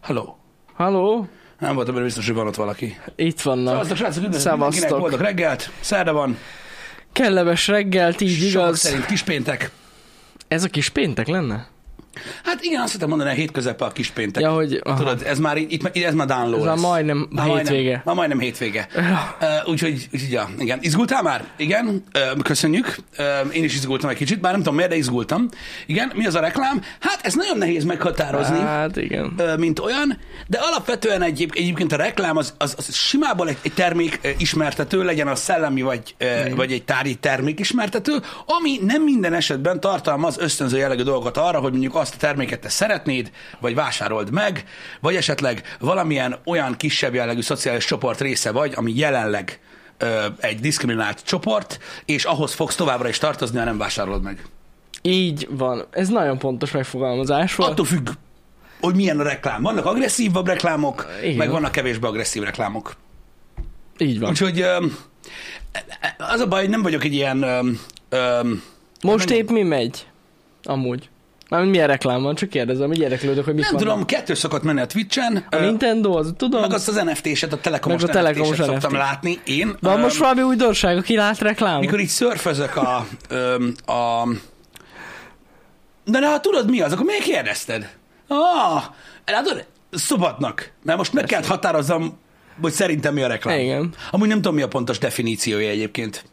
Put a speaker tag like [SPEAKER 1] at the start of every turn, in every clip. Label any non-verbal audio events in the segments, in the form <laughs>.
[SPEAKER 1] Hello.
[SPEAKER 2] Halló?
[SPEAKER 1] Nem voltam benne biztos, hogy van ott valaki.
[SPEAKER 2] Itt vannak.
[SPEAKER 1] Szevasztok, srácok, üdvözlök
[SPEAKER 2] Szevasztok.
[SPEAKER 1] mindenkinek, boldog reggelt, szerda van,
[SPEAKER 2] Kellemes reggelt, így
[SPEAKER 1] sokak
[SPEAKER 2] igaz.
[SPEAKER 1] szerint kispéntek.
[SPEAKER 2] Ez a kis péntek lenne?
[SPEAKER 1] Hát igen, azt hittem mondani, a hétközepe a kispéntek.
[SPEAKER 2] Ja, hogy... aha.
[SPEAKER 1] Tudod, ez már, így- itt, ez már download
[SPEAKER 2] Ez már
[SPEAKER 1] lesz.
[SPEAKER 2] majdnem hétvége.
[SPEAKER 1] Majdnem, már majdnem hétvége.
[SPEAKER 2] Ja.
[SPEAKER 1] Uh, úgyhogy, úgyhogy, ja, igen. Izgultál már? Igen, uh, köszönjük. Uh, én is izgultam egy kicsit, bár nem tudom miért, de izgultam. Igen, mi az a reklám? Hát ez nagyon nehéz meghatározni.
[SPEAKER 2] Hát igen.
[SPEAKER 1] ö, mint olyan, de alapvetően egyéb, egyébként a reklám az, az, az simából egy, egy termék ö, ismertető, legyen az szellemi vagy, ö, vagy egy tárgyi termék ismertető, ami nem minden esetben tartalmaz ösztönző jellegű dolgot arra, hogy mondjuk azt a terméket te szeretnéd, vagy vásárold meg, vagy esetleg valamilyen olyan kisebb jellegű szociális csoport része vagy, ami jelenleg ö, egy diszkriminált csoport, és ahhoz fogsz továbbra is tartozni, ha nem vásárolod meg.
[SPEAKER 2] Így van. Ez nagyon pontos megfogalmazás volt.
[SPEAKER 1] Attól függ, hogy milyen a reklám. Vannak agresszívabb reklámok,
[SPEAKER 2] Igen.
[SPEAKER 1] Igen. meg vannak kevésbé agresszív reklámok.
[SPEAKER 2] Így van.
[SPEAKER 1] Úgyhogy öm, az a baj, hogy nem vagyok egy ilyen... öm, öm,
[SPEAKER 2] Most
[SPEAKER 1] nem-
[SPEAKER 2] épp mi megy? Amúgy. Már milyen reklám van, csak kérdezem, hogy érdeklődök, hogy mit
[SPEAKER 1] Nem
[SPEAKER 2] van.
[SPEAKER 1] tudom, kettő szokott menni a Twitch-en,
[SPEAKER 2] A
[SPEAKER 1] öm,
[SPEAKER 2] Nintendo, az tudom.
[SPEAKER 1] meg azt az NFT-set, a telekomos,
[SPEAKER 2] Meg a Telekomos
[SPEAKER 1] NFT-set szoktam
[SPEAKER 2] NFT-t.
[SPEAKER 1] látni. Én,
[SPEAKER 2] Van
[SPEAKER 1] öm,
[SPEAKER 2] most valami újdonság, aki lát reklám?
[SPEAKER 1] mikor így szörfözök a, öm, a... De, de ha tudod mi az, akkor miért kérdezted? Ah, látod, szobatnak. Mert most meg kell határozzam, hogy szerintem mi a reklám.
[SPEAKER 2] Igen.
[SPEAKER 1] Amúgy nem tudom, mi a pontos definíciója egyébként.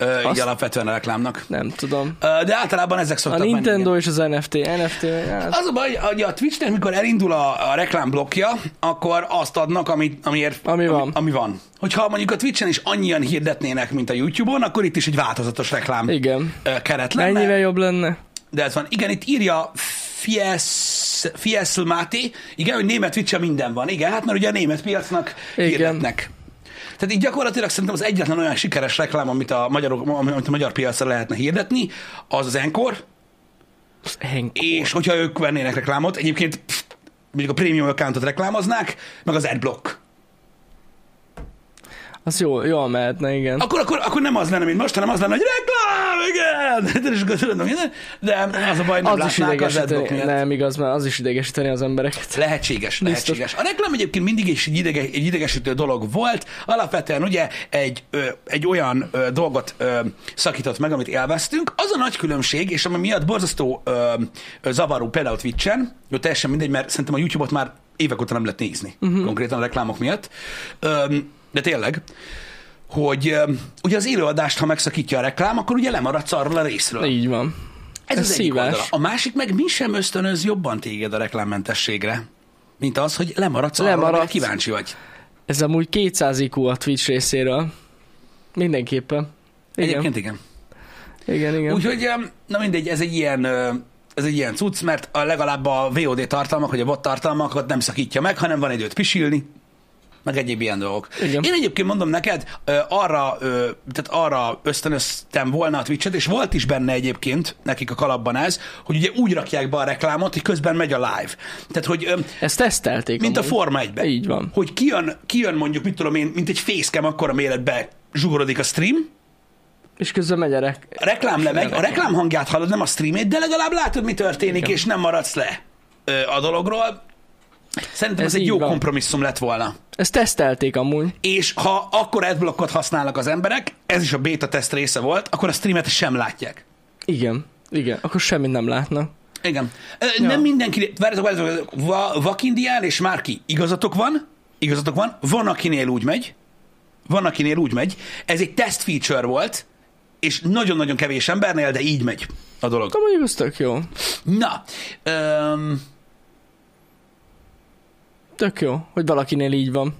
[SPEAKER 1] Ö, így
[SPEAKER 2] Azt-
[SPEAKER 1] alapvetően a reklámnak.
[SPEAKER 2] Nem tudom.
[SPEAKER 1] Ö, de általában ezek
[SPEAKER 2] A
[SPEAKER 1] szoktak menni,
[SPEAKER 2] Nintendo és az NFT. NFT, hát
[SPEAKER 1] az a baj, hogy a Twitchnek, mikor elindul a, a reklámblokja, akkor azt adnak, amit, amiért,
[SPEAKER 2] Ami van.
[SPEAKER 1] Ami, ami van. Hogyha mondjuk a Twitchen is annyian hirdetnének, mint a YouTube-on, akkor itt is egy változatos reklám
[SPEAKER 2] igen.
[SPEAKER 1] ö, keret lenne.
[SPEAKER 2] Mennyivel jobb lenne?
[SPEAKER 1] De ez van. Igen, itt írja Fies, Fiesl Máté. Igen, hogy német Twitchen minden van. Igen, hát mert ugye a német piacnak
[SPEAKER 2] Igen.
[SPEAKER 1] hirdetnek. Tehát így gyakorlatilag szerintem az egyetlen olyan sikeres reklám, amit a magyar, amit a magyar piacra lehetne hirdetni, az az Encore,
[SPEAKER 2] Henk.
[SPEAKER 1] és hogyha ők vennének reklámot, egyébként pff, mondjuk a premium accountot reklámoznák, meg az adblock.
[SPEAKER 2] Az jó, jól mehetne, igen.
[SPEAKER 1] Akkor, akkor, akkor nem az lenne, mint most, hanem az lenne, hogy reklám, igen! <laughs> De, is gondolom, igen. de az a baj, nem
[SPEAKER 2] az is
[SPEAKER 1] látnák az adblock
[SPEAKER 2] idegesíteni,
[SPEAKER 1] miatt.
[SPEAKER 2] nem igaz, mert az is idegesíteni az embereket.
[SPEAKER 1] Lehetséges, lehetséges. A reklám egyébként mindig is egy, idege, egy idegesítő dolog volt. Alapvetően ugye egy, ö, egy olyan ö, dolgot ö, szakított meg, amit élveztünk. Az a nagy különbség, és ami miatt borzasztó ö, ö, zavaró például Twitch-en, jó, teljesen mindegy, mert szerintem a YouTube-ot már évek óta nem lehet nézni, uh-huh. konkrétan a reklámok miatt. Ö, de tényleg, hogy ö, ugye az élőadást, ha megszakítja a reklám, akkor ugye lemaradsz arról a részről.
[SPEAKER 2] Így van.
[SPEAKER 1] Ez,
[SPEAKER 2] Ez
[SPEAKER 1] az egyik
[SPEAKER 2] szívás.
[SPEAKER 1] oldala. A másik meg mi sem ösztönöz jobban téged a reklámmentességre, mint az, hogy lemaradsz, lemaradsz. arra,
[SPEAKER 2] Lemaradsz.
[SPEAKER 1] kíváncsi vagy.
[SPEAKER 2] Ez amúgy 200 IQ a Twitch részéről. Mindenképpen. Igen,
[SPEAKER 1] Egyébként igen.
[SPEAKER 2] igen, igen.
[SPEAKER 1] Úgyhogy, em, na mindegy, ez egy ilyen ö, ez egy ilyen cucc, mert a legalább a VOD tartalmak, vagy a bot tartalmakat nem szakítja meg, hanem van időt pisilni, meg egyéb ilyen dolgok.
[SPEAKER 2] Igen.
[SPEAKER 1] Én egyébként mondom neked, ö, arra, ö, tehát arra ösztönöztem volna a Twitch-et, és volt is benne egyébként nekik a kalapban ez, hogy ugye úgy rakják be a reklámot, hogy közben megy a live. Tehát, hogy ö,
[SPEAKER 2] Ezt tesztelték.
[SPEAKER 1] Mint a
[SPEAKER 2] amúgy.
[SPEAKER 1] Forma 1
[SPEAKER 2] Így van.
[SPEAKER 1] Hogy kijön, kijön mondjuk, mit tudom én, mint egy fészkem, akkor a méretbe zsugorodik a stream,
[SPEAKER 2] És közben megy a rek...
[SPEAKER 1] a reklám lemegy, a reklám hangját hallod, nem a streamét, de legalább látod, mi történik,
[SPEAKER 2] Igen.
[SPEAKER 1] és nem maradsz le ö, a dologról. Szerintem ez,
[SPEAKER 2] Ez
[SPEAKER 1] egy
[SPEAKER 2] így
[SPEAKER 1] jó
[SPEAKER 2] van.
[SPEAKER 1] kompromisszum lett volna.
[SPEAKER 2] Ezt tesztelték amúgy.
[SPEAKER 1] És ha akkor adblockot használnak az emberek, ez is a beta teszt része volt, akkor a streamet sem látják.
[SPEAKER 2] Igen. Igen, akkor semmit nem látnak.
[SPEAKER 1] Igen. Ö,
[SPEAKER 2] Ja.
[SPEAKER 1] Nem mindenki, várjatok, várjatok, Va- Vakindián és Márki, igazatok van, igazatok van, van akinél úgy megy, van akinél úgy megy, ez egy test feature volt, és nagyon-nagyon kevés embernél, de így megy a dolog.
[SPEAKER 2] De mondjuk az tök jó.
[SPEAKER 1] Na, öm,
[SPEAKER 2] Tök jó, hogy valakinél így van.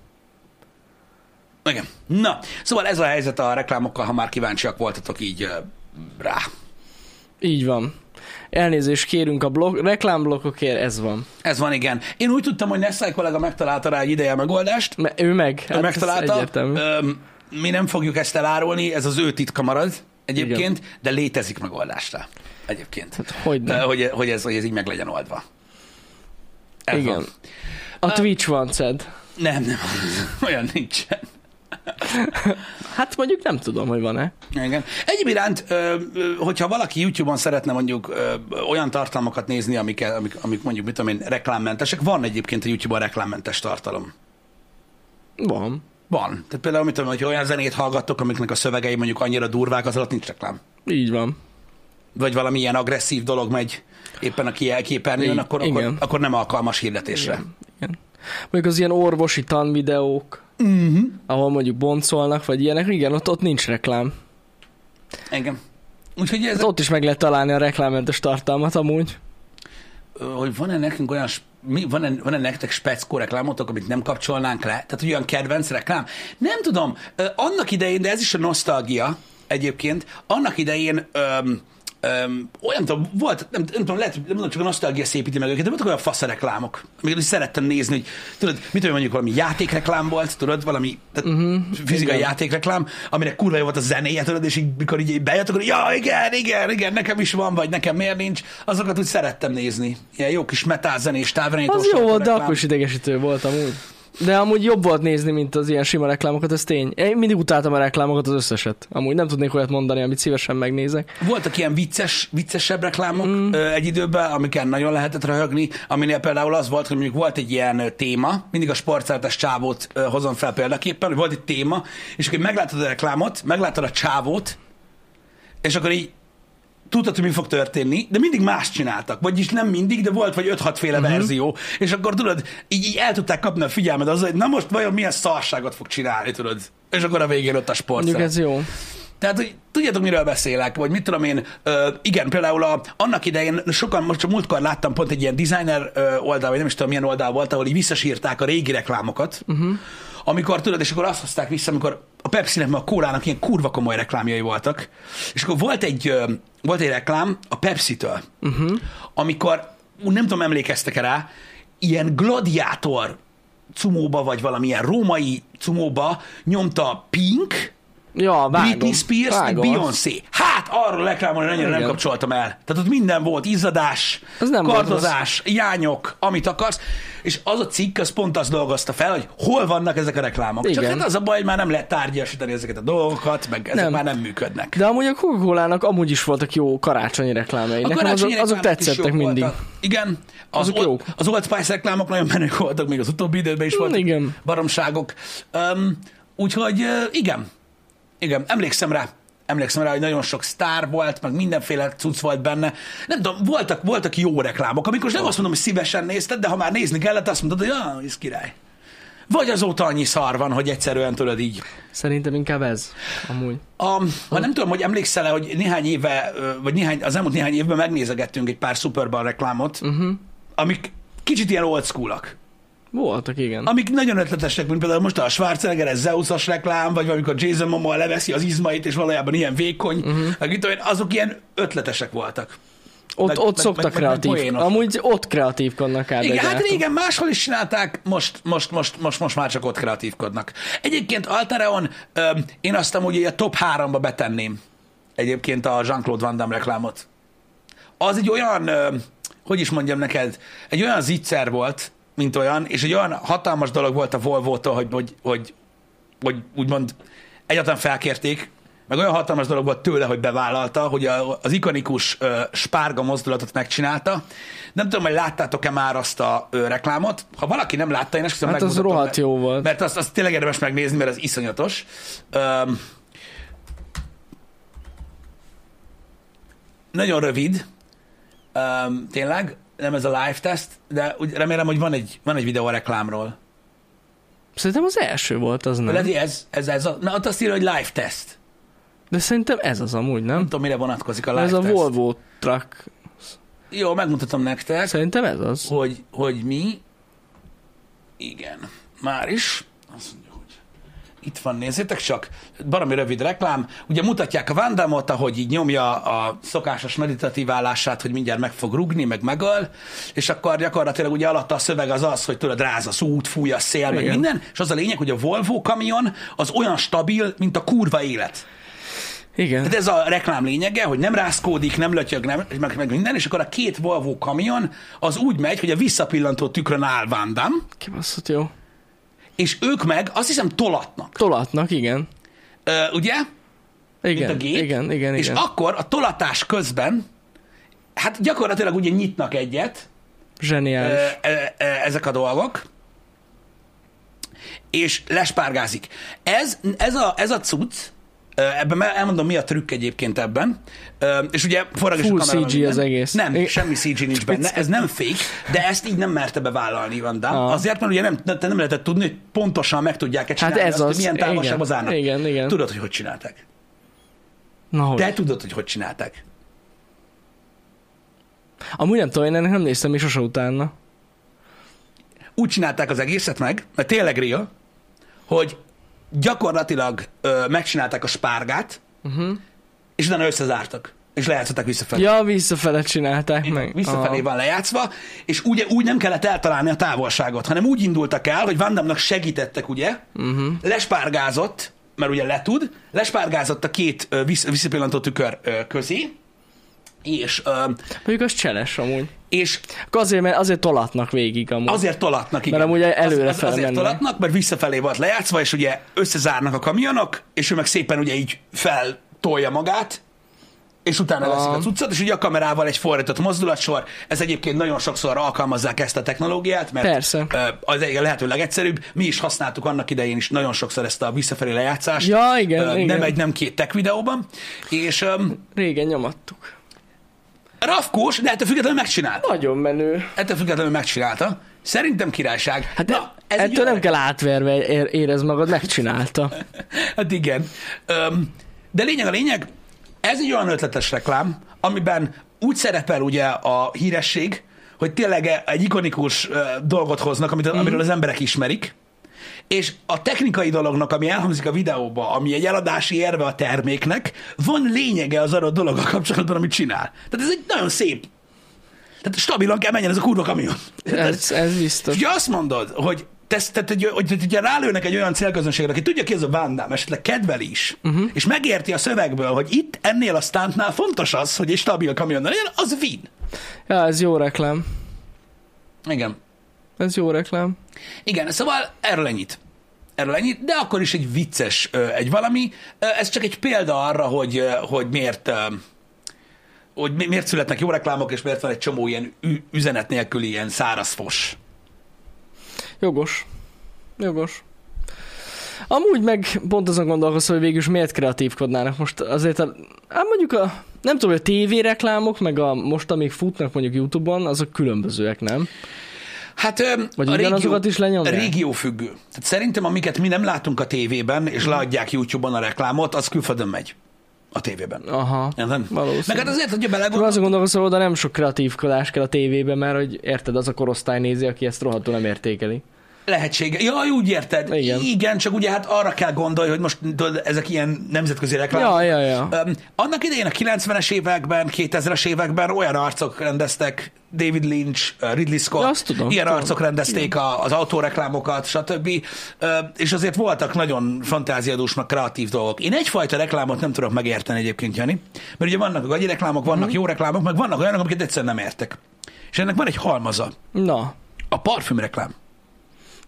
[SPEAKER 1] igen. Na, szóval ez a helyzet a reklámokkal, ha már kíváncsiak voltatok így ö, rá.
[SPEAKER 2] Így van. Elnézést kérünk a blok... reklámblokkokért, ez van.
[SPEAKER 1] Ez van, igen. Én úgy tudtam, hogy Nessai kollega megtalálta rá egy ideje a megoldást,
[SPEAKER 2] Me- ő meg.
[SPEAKER 1] hát
[SPEAKER 2] ez
[SPEAKER 1] megtalálta.
[SPEAKER 2] egyértelmű.
[SPEAKER 1] Öm, mi nem fogjuk ezt elárulni, ez az ő titka marad egyébként, Igen. de létezik megoldásra egyébként.
[SPEAKER 2] Hogy
[SPEAKER 1] Ö,
[SPEAKER 2] nem.
[SPEAKER 1] Hogy, hogy, ez, hogy ez így meg legyen oldva. Ez
[SPEAKER 2] Igen.
[SPEAKER 1] Van.
[SPEAKER 2] A Twitch van, Ced.
[SPEAKER 1] <laughs> Nem, nem, olyan nincsen.
[SPEAKER 2] Hát mondjuk nem tudom, hogy van-e.
[SPEAKER 1] Igen. Egyéb iránt, ö, ö, hogyha valaki YouTube-on szeretne mondjuk ö, ö, olyan tartalmakat nézni, amik, amik, amik mondjuk, mit tudom én, reklámmentesek, van egyébként a YouTube-on reklámmentes tartalom.
[SPEAKER 2] Van.
[SPEAKER 1] Van. Tehát például, mit tudom, hogy olyan zenét hallgattok, amiknek a szövegei mondjuk annyira durvák, az alatt nincs reklám.
[SPEAKER 2] Így van.
[SPEAKER 1] Vagy valami ilyen agresszív dolog megy éppen a kiel- képernyőn,
[SPEAKER 2] Igen.
[SPEAKER 1] akkor, akkor,
[SPEAKER 2] Igen.
[SPEAKER 1] akkor nem alkalmas hirdetésre.
[SPEAKER 2] Igen. Mondjuk az ilyen orvosi tanvideók, Mhm.
[SPEAKER 1] Uh-huh.
[SPEAKER 2] ahol mondjuk boncolnak, vagy ilyenek, igen, ott, ott nincs reklám.
[SPEAKER 1] Igen. Úgyhogy ez,
[SPEAKER 2] Hát ott is meg lehet találni a reklámmentes tartalmat amúgy.
[SPEAKER 1] ö, hogy van-e nekünk olyan, s- mi, van-e, van-e nektek speckó reklámotok, amit nem kapcsolnánk le? Tehát hogy olyan kedvenc reklám? Nem tudom, ö, annak idején, de ez is a nosztalgia egyébként, annak idején öm, öm, olyan tudom, volt, nem, nem tudom, lehet, nem tudom, csak a nosztalgia szépíti meg őket, de voltak olyan fasz reklámok, amiket is szerettem nézni, hogy tudod, mit tudom, én, mondjuk valami játékreklám volt, tudod, valami tehát uh-huh, fizikai
[SPEAKER 2] Mhm, igen.
[SPEAKER 1] játékreklám, aminek kurva jó volt a zenéje, tudod, és így, mikor így bejött, akkor ja, igen, igen, igen, nekem is van, vagy nekem miért nincs, azokat úgy szerettem nézni. Ilyen jó kis metálzenés, távirányítós.
[SPEAKER 2] Az jó volt, de
[SPEAKER 1] reklám.
[SPEAKER 2] akkor is idegesítő volt amúgy. De amúgy jobb volt nézni, mint az ilyen sima reklámokat, ez tény. Én mindig utáltam a reklámokat, az összeset. Amúgy nem tudnék olyat mondani, amit szívesen megnézek.
[SPEAKER 1] Voltak ilyen vicces, viccesebb reklámok mm. egy időben, amiken nagyon lehetett röhögni, aminél például az volt, hogy mondjuk volt egy ilyen ö, téma, mindig a sportszertes csávót ö, hozom fel példaképpen, hogy volt egy téma, és akkor meglátod a reklámot, meglátod a csávót, és akkor így tudtad, hogy mi fog történni, de mindig más csináltak. Vagyis nem mindig, de volt vagy 5-6 féle
[SPEAKER 2] Mhm.
[SPEAKER 1] uh-huh. verzió, és akkor tudod, így, így el tudták kapni a figyelmed azzal, hogy na most vajon milyen szarságot fog csinálni, tudod. És akkor a végén ott a sport.
[SPEAKER 2] Mondjuk ez jó.
[SPEAKER 1] Tehát, hogy tudjátok, miről beszélek, vagy mit tudom én, ö, igen, például a, annak idején sokan, most csak múltkor láttam pont egy ilyen designer ö, oldal, vagy nem is tudom milyen oldal volt, ahol így visszasírták a régi reklámokat, uh-huh. amikor tudod, és akkor azt hozták vissza, amikor a Pepsi-nek, meg a kólának ilyen kurva komoly reklámjai voltak, és akkor volt egy, ö, volt egy reklám a Pepsi-től, uh-huh. amikor, ú, nem tudom, emlékeztek-e rá, ilyen gladiátor cumóba, vagy valamilyen római cumóba nyomta Pink,
[SPEAKER 2] Ja, vágom.
[SPEAKER 1] Britney Spears, meg
[SPEAKER 2] vágom.
[SPEAKER 1] Beyoncé. Hát arról reklámon hogy annyira nem
[SPEAKER 2] Igen.
[SPEAKER 1] kapcsoltam el. Tehát ott minden volt, izzadás,
[SPEAKER 2] Az nem volt
[SPEAKER 1] kardozás, jányok, amit akarsz. És az a cikk, az pont azt dolgozta fel, hogy hol vannak ezek a reklámok. Csak
[SPEAKER 2] Igen.
[SPEAKER 1] hát az a baj, hogy már nem lehet tárgyasítani ezeket a dolgokat, meg ezek
[SPEAKER 2] Nem.
[SPEAKER 1] már nem működnek.
[SPEAKER 2] De amúgy a coca amúgy is voltak jó karácsonyi reklámjai. Nekem azok,
[SPEAKER 1] karácsonyi
[SPEAKER 2] azok
[SPEAKER 1] reklámok is
[SPEAKER 2] tetszettek
[SPEAKER 1] jók
[SPEAKER 2] mindig.
[SPEAKER 1] Voltak. Igen, az,
[SPEAKER 2] Azok
[SPEAKER 1] old,
[SPEAKER 2] jók.
[SPEAKER 1] az Old Spice reklámok nagyon menők voltak, még az utóbbi időben is
[SPEAKER 2] Mm,
[SPEAKER 1] voltak
[SPEAKER 2] igen.
[SPEAKER 1] baromságok. Um, úgyhogy ö, igen, igen, emlékszem rá. Emlékszem rá, hogy nagyon sok sztár volt, meg mindenféle cucc volt benne. Nem tudom, voltak, voltak jó reklámok, amikor most nem azt mondom, hogy szívesen nézted, de ha már nézni kellett, azt mondod, hogy ah, ez király. Vagy azóta annyi szar van, hogy egyszerűen tudod így.
[SPEAKER 2] Szerintem inkább ez. Amúgy.
[SPEAKER 1] A, ha nem tudom, hogy emlékszel-e, hogy néhány éve, ö, vagy néhány, az elmúlt néhány évben megnézegettünk egy pár Superban reklámot, uh-huh. amik kicsit ilyen old school
[SPEAKER 2] Voltak, igen.
[SPEAKER 1] amik nagyon ötletesek, mint például most a Schwarzenegger Zeus-as reklám, vagy amikor Jason Momoa leveszi az izmait, és valójában ilyen vékony, uh-huh. meg mit tudom én, azok ilyen ötletesek voltak.
[SPEAKER 2] Ott,
[SPEAKER 1] Meg-
[SPEAKER 2] ott
[SPEAKER 1] meg-
[SPEAKER 2] szoktak
[SPEAKER 1] meg- meg- meg
[SPEAKER 2] kreatív.
[SPEAKER 1] poénos.
[SPEAKER 2] Amúgy ott kreatívkodnak át.
[SPEAKER 1] Igen, hát
[SPEAKER 2] egyáltalán.
[SPEAKER 1] régen máshol is csinálták, most, most, most, most, most már csak ott kreatívkodnak. Egyébként Altareon, öm, én azt amúgy így a top 3-ba betenném egyébként a Jean-Claude Van Damme reklámot. Az egy olyan, öm, hogy is mondjam neked, egy olyan zicser volt, mint olyan, és egy olyan hatalmas dolog volt a Volvo-tól, hogy, hogy, hogy, hogy úgymond egyáltalán felkérték, meg olyan hatalmas dolog volt tőle, hogy bevállalta, hogy a, az ikonikus ö, spárga mozdulatot megcsinálta. Nem tudom, hogy láttátok-e már azt a ö, reklámot. Ha valaki nem látta, én esküszöm
[SPEAKER 2] Hát az
[SPEAKER 1] megmutatom,
[SPEAKER 2] rohadt
[SPEAKER 1] mert-
[SPEAKER 2] jó volt.
[SPEAKER 1] Mert azt, azt tényleg érdemes megnézni, mert az iszonyatos. Öm, nagyon rövid, öm, tényleg, nem ez a live test, de úgy remélem, hogy van egy, van egy videó a reklámról.
[SPEAKER 2] Szerintem az első volt az, nem?
[SPEAKER 1] Lehet, hogy ez, ez, ez a, na, ott azt írja, hogy live test.
[SPEAKER 2] De szerintem ez az amúgy,
[SPEAKER 1] Nem
[SPEAKER 2] nem?
[SPEAKER 1] tudom, mire vonatkozik a live
[SPEAKER 2] Ez a
[SPEAKER 1] test.
[SPEAKER 2] Volvo truck.
[SPEAKER 1] Jó, megmutatom nektek,
[SPEAKER 2] Szerintem ez az.
[SPEAKER 1] hogy, hogy mi. Igen, már is. Azt mondja, hogy itt van, nézzétek csak. Baromi rövid reklám. Ugye mutatják a Vandamot, ahogy így nyomja a szokásos meditatív állását, hogy mindjárt meg fog rugni, meg megöl, és akkor gyakorlatilag ugye alatta a szöveg az az, hogy tudod, ráz az út, fúj a szél, meg
[SPEAKER 2] Igen.
[SPEAKER 1] minden, és az a lényeg, hogy a Volvo kamion az olyan stabil, mint a kurva élet.
[SPEAKER 2] Igen.
[SPEAKER 1] Tehát Hát ez a reklám lényege, hogy nem rászkódik, nem lötyög, nem, meg, meg minden, és akkor a két Volvo kamion az úgy megy, hogy a visszapillantó tükrön áll Van Damme,
[SPEAKER 2] Kibaszott jó.
[SPEAKER 1] és ők meg azt hiszem tolatnak.
[SPEAKER 2] Tolatnak, igen.
[SPEAKER 1] Ö, ugye?
[SPEAKER 2] Igen,
[SPEAKER 1] Mint a gép.
[SPEAKER 2] igen, igen,
[SPEAKER 1] és
[SPEAKER 2] igen.
[SPEAKER 1] akkor a tolatás közben, hát gyakorlatilag ugye nyitnak egyet ö,
[SPEAKER 2] Zseniális.
[SPEAKER 1] ö, ö, ezek a dolgok, és lespárgázik. Ez, ez, a, ez a cucc, ö, ebben el- elmondom, mi a trükk egyébként ebben. Ö, És ugye forrag is a
[SPEAKER 2] Full
[SPEAKER 1] kamera,
[SPEAKER 2] CG az
[SPEAKER 1] minden.
[SPEAKER 2] egész.
[SPEAKER 1] Nem,
[SPEAKER 2] Igen.
[SPEAKER 1] semmi CG nincs benne, ez nem fake, de ezt így nem merte bevállalni, Van Damme.
[SPEAKER 2] Aha.
[SPEAKER 1] Azért, mert ugye nem, te nem lehetett tudni, hogy pontosan meg tudják-e
[SPEAKER 2] Hát
[SPEAKER 1] csinálni
[SPEAKER 2] ez
[SPEAKER 1] azt, hogy
[SPEAKER 2] az.
[SPEAKER 1] milyen távolságban
[SPEAKER 2] Igen.
[SPEAKER 1] zárnak.
[SPEAKER 2] Igen, igen.
[SPEAKER 1] Tudod, hogy hogy csinálták.
[SPEAKER 2] Na, hogy?
[SPEAKER 1] Te tudod, hogy hogy csinálták.
[SPEAKER 2] Amúgy nem tudom, én ennek nem néztem is sose utána.
[SPEAKER 1] Úgy csinálták az egészet meg, mert tényleg real, hogy gyakorlatilag ö, megcsinálták a spárgát,
[SPEAKER 2] Uh-huh.
[SPEAKER 1] és utána összezártak, és lejátszották visszafelé.
[SPEAKER 2] Ja, visszafele csinálták meg.
[SPEAKER 1] Visszafelé
[SPEAKER 2] Aha.
[SPEAKER 1] van lejátszva, és ugye úgy nem kellett eltalálni a távolságot, hanem úgy indultak el, hogy Van Damme-nak segítettek, ugye?
[SPEAKER 2] Mhm.
[SPEAKER 1] Uh-huh. Lespárgázott, mert ugye letud, lespárgázott a két ö, vissz- visszapillantó tükör ö, közé, és, ö,
[SPEAKER 2] Ah, Mondjuk az cseles amúgy.
[SPEAKER 1] és
[SPEAKER 2] Akkor azért, mert azért tolatnak végig amúgy. Az...
[SPEAKER 1] Azért tolatnak, igen.
[SPEAKER 2] amúgy előre
[SPEAKER 1] az, az,
[SPEAKER 2] fele
[SPEAKER 1] Azért
[SPEAKER 2] mennek.
[SPEAKER 1] tolatnak, mert visszafelé volt lejátszva, és ugye összezárnak a kamionok, és ő meg szépen ugye így feltolja magát, és utána
[SPEAKER 2] Ah.
[SPEAKER 1] veszik a cuccot, és ugye a kamerával egy fordított mozdulatsor. Ez egyébként nagyon sokszor alkalmazzák ezt a technológiát, mert
[SPEAKER 2] Persze.
[SPEAKER 1] ö, az egyik a lehető legegyszerűbb. Mi is használtuk annak idején is nagyon sokszor ezt a visszafelé lejátszást.
[SPEAKER 2] Ja, igen,
[SPEAKER 1] Ö, Nem
[SPEAKER 2] igen.
[SPEAKER 1] egy, nem két tech videóban. És um,
[SPEAKER 2] Régen nyomattuk.
[SPEAKER 1] rafkós, de ettől függetlenül megcsinálta.
[SPEAKER 2] Nagyon menő.
[SPEAKER 1] Ettől függetlenül megcsinálta. Szerintem királyság.
[SPEAKER 2] Hát Na,
[SPEAKER 1] egy
[SPEAKER 2] ez ettől
[SPEAKER 1] olyan-
[SPEAKER 2] nem kell átverve ér- érez magad, megcsinálta.
[SPEAKER 1] Hát igen. Öm, de lényeg a lényeg, ez egy olyan ötletes reklám, amiben úgy szerepel ugye a híresség, hogy tényleg egy ikonikus ö, dolgot hoznak, amit, amiről az emberek ismerik, és a technikai dolognak, ami elhangzik a videóba, ami egy eladási érve a terméknek, van lényege az adott dologgal kapcsolatban, amit csinál. Tehát ez egy nagyon szép. Tehát stabilan kell menjen ez a kurva kamion.
[SPEAKER 2] Ez, ez biztos.
[SPEAKER 1] És ugye azt mondod, hogy tesz, tehát, hogy, hogy, hogy ugye rálőnek egy olyan célközönségre, aki tudja ki ez a Van Damme, esetleg kedveli is, uh-huh. és megérti a szövegből, hogy itt ennél a stuntnál fontos az, hogy egy stabil kamionnal legyen, az win.
[SPEAKER 2] Ja, ez jó reklám.
[SPEAKER 1] Igen.
[SPEAKER 2] Ez jó reklám.
[SPEAKER 1] Igen, szóval erről ennyit. Erről ennyit, de akkor is egy vicces ö, egy valami. Ö, Ez csak egy példa arra, hogy, ö, hogy miért ö, hogy mi- miért születnek jó reklámok, és miért van egy csomó ilyen ü- üzenet nélküli ilyen szárazfos.
[SPEAKER 2] Jogos. Jogos. Amúgy meg pont azon gondolkozom, hogy végül is miért kreatívkodnának most azért a, hát mondjuk a, nem tudom, hogy a tévéreklámok, meg a most, amik futnak mondjuk Youtube-on, azok különbözőek, nem?
[SPEAKER 1] Hát öm,
[SPEAKER 2] Vagy
[SPEAKER 1] a
[SPEAKER 2] ugyanazokat is lenyomják?
[SPEAKER 1] Régió függő. Tehát szerintem, amiket mi nem látunk a tévében, és leadják YouTube-on a reklámot, az külföldön megy a tévében.
[SPEAKER 2] Aha.
[SPEAKER 1] Érted?
[SPEAKER 2] Valószínű.
[SPEAKER 1] Meg hát azért, hogyha
[SPEAKER 2] Csak
[SPEAKER 1] belegondolsz,
[SPEAKER 2] azon gondolkozom, hogy oda nem sok kreatívkodás kell a tévébe, mert hogy érted, az a korosztály nézi, aki ezt rohadtul nem értékeli.
[SPEAKER 1] lehetsége. Jaj, úgy érted.
[SPEAKER 2] Igen.
[SPEAKER 1] Igen, csak ugye hát arra kell gondolni, hogy most tudod, ezek ilyen nemzetközi reklámok.
[SPEAKER 2] Ja, ja, ja.
[SPEAKER 1] Öm, annak idején a 90-es években, 2000-es években olyan arcok rendeztek, David Lynch, ö, Ridley Scott,
[SPEAKER 2] Ja, azt tudom,
[SPEAKER 1] ilyen
[SPEAKER 2] tudom.
[SPEAKER 1] arcok rendezték a, az autóreklámokat, stb. Ö, és azért voltak nagyon fantáziadús, meg kreatív dolgok. Én egyfajta reklámot nem tudok megérteni egyébként, Jani, mert ugye vannak gagyi reklámok, vannak
[SPEAKER 2] Mhm.
[SPEAKER 1] jó reklámok, meg vannak olyanok, amiket egyszerűen nem értek. És ennek van egy halmaza,
[SPEAKER 2] Na.
[SPEAKER 1] a parfümreklám.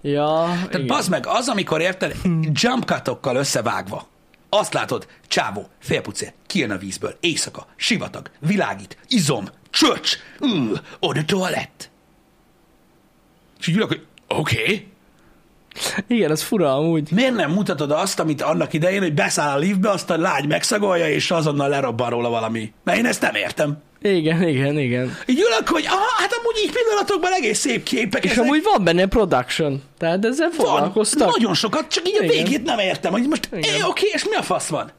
[SPEAKER 2] Ja,
[SPEAKER 1] Tehát
[SPEAKER 2] igen.
[SPEAKER 1] bazd meg, az, amikor érted, jump cutokkal összevágva, azt látod, csávó, félpucér, kijön a vízből, éjszaka, sivatag, világít, izom, csöcs, ül, oda toalett. És így ülök, hogy oké, okay.
[SPEAKER 2] igen, ez fura amúgy.
[SPEAKER 1] miért nem mutatod azt, amit annak idején, hogy beszáll a liftbe, azt a lágy megszagolja, és azonnal lerobban róla valami. Mert én ezt nem értem.
[SPEAKER 2] Igen, igen, igen.
[SPEAKER 1] Így ülök, hogy aha, hát amúgy így pillanatokban egész szép képek.
[SPEAKER 2] És
[SPEAKER 1] ezek.
[SPEAKER 2] amúgy van benne production, tehát ezzel
[SPEAKER 1] van,
[SPEAKER 2] foglalkoztak.
[SPEAKER 1] nagyon sokat, csak így a
[SPEAKER 2] Igen.
[SPEAKER 1] végét nem értem, hogy most
[SPEAKER 2] Igen.
[SPEAKER 1] eh, oké, és mi a fasz van?